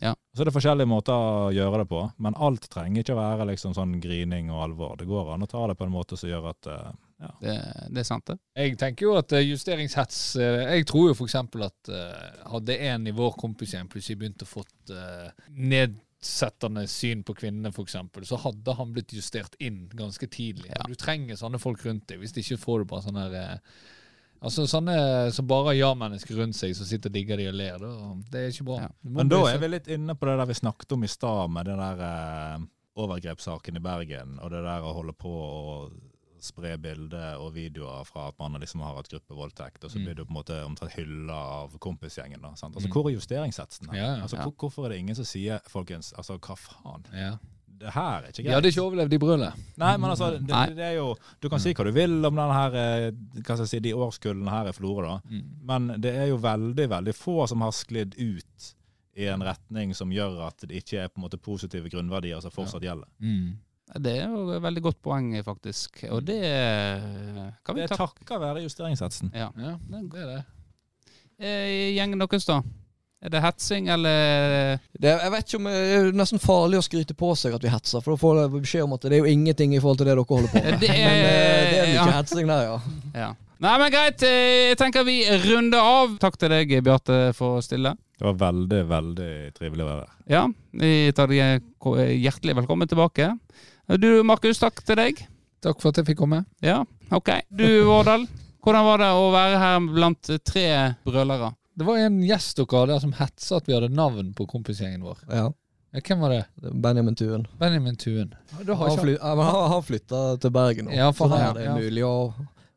Ja. Så er det forskjellige måter å gjøre det på, men alt trenger ikke å være liksom sånn grining og alvor. Det går an å ta det på en måte som gjør at eh, Det, det er sant, det. Jeg tenker jo at eh, justeringshets eh, Jeg tror jo f.eks. at eh, hadde en i vår kompisgjeng plutselig begynt å fått eh, nedsettende syn på kvinnene, f.eks., så hadde han blitt justert inn ganske tidlig. Ja. Du trenger sånne folk rundt deg. Hvis ikke får du bare sånne her, eh, Altså sånne som bare har ja-mennesker rundt seg, som sitter og digger de og ler. Da. Det er ikke bra. Ja. Du må Men da bli er sett- vi litt inne på det der vi snakket om i stad, med den der eh, overgrepssaken i Bergen, og det der å holde på å spre bilder og videoer fra at man liksom har hatt gruppevoldtekt, og så Mm. blir du på en måte omtrent hylla av kompisgjengen. da, sant? Altså, Mm. Hvor er justeringshetsen? her? Ja, ja. Altså, hvor, Hvorfor er det ingen som sier folkens, altså, hva faen? ja. Det her er ikke De greit. hadde ikke overlevd i brølet. Nei, men altså, det, Nei. det er jo, Du kan si hva du vil om den her, eh, hva skal jeg si, de årskullene her i Florø, da. Mm. Men det er jo veldig, veldig få som har sklidd ut i en retning som gjør at det ikke er på en måte positive grunnverdier som fortsatt gjelder. Mm. Ja, Det er jo et veldig godt poeng, faktisk. Og det eh, kan vi Det er takke takket være justeringshetsen. ja. Ja, det er det. eh, gjengen deres, da? Er det hetsing, eller eh, Det, jeg vet ikke om eh, Det er jo nesten farlig å skryte på seg at vi hetser, for da får jeg beskjed om at det er jo ingenting i forhold til det dere holder på med. Det er- Men eh, det er mye ja. hetsing der, ja. Ja. Nei, men greit. eh, Jeg tenker vi runder av. Takk til deg, Bjarte, for å stille. Det var veldig, veldig trivelig å være her. Ja, vi tar deg ko- hjertelig velkommen tilbake. Du, Markus, takk til deg. Takk for at jeg fikk komme. Ja, OK. Du, Vårdal. Hvordan var det å være her blant tre brølere? Det var en gjest dere hadde som hetsa at vi hadde navn på kompisgjengen vår. ja. Ja, hvem var det? det er Benjamin Tuen. Benjamin Tuen. Da har Han, ikke fly, ja, men han, han flytta til Bergen nå, Ja, for så der han- er det ja. mulig å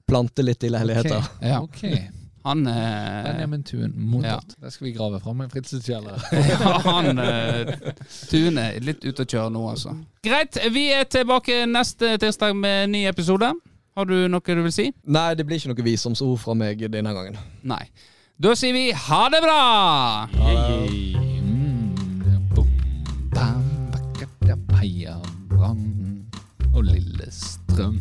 plante litt i leiligheter. Ok, Ja. Ok. Han eh, Benjamin Tuen, mottatt. Det skal vi grave fram i Fritzens kjeller. Ja, han eh, Tune er litt ute å kjøre nå, altså. Greit, vi er tilbake neste tirsdag med en ny episode. Har du noe du vil si? Nei, det blir ikke noe visdomsord fra meg denne gangen. Nei. Da sier vi ha det bra! Mm. Heia Brann og Lillestrøm.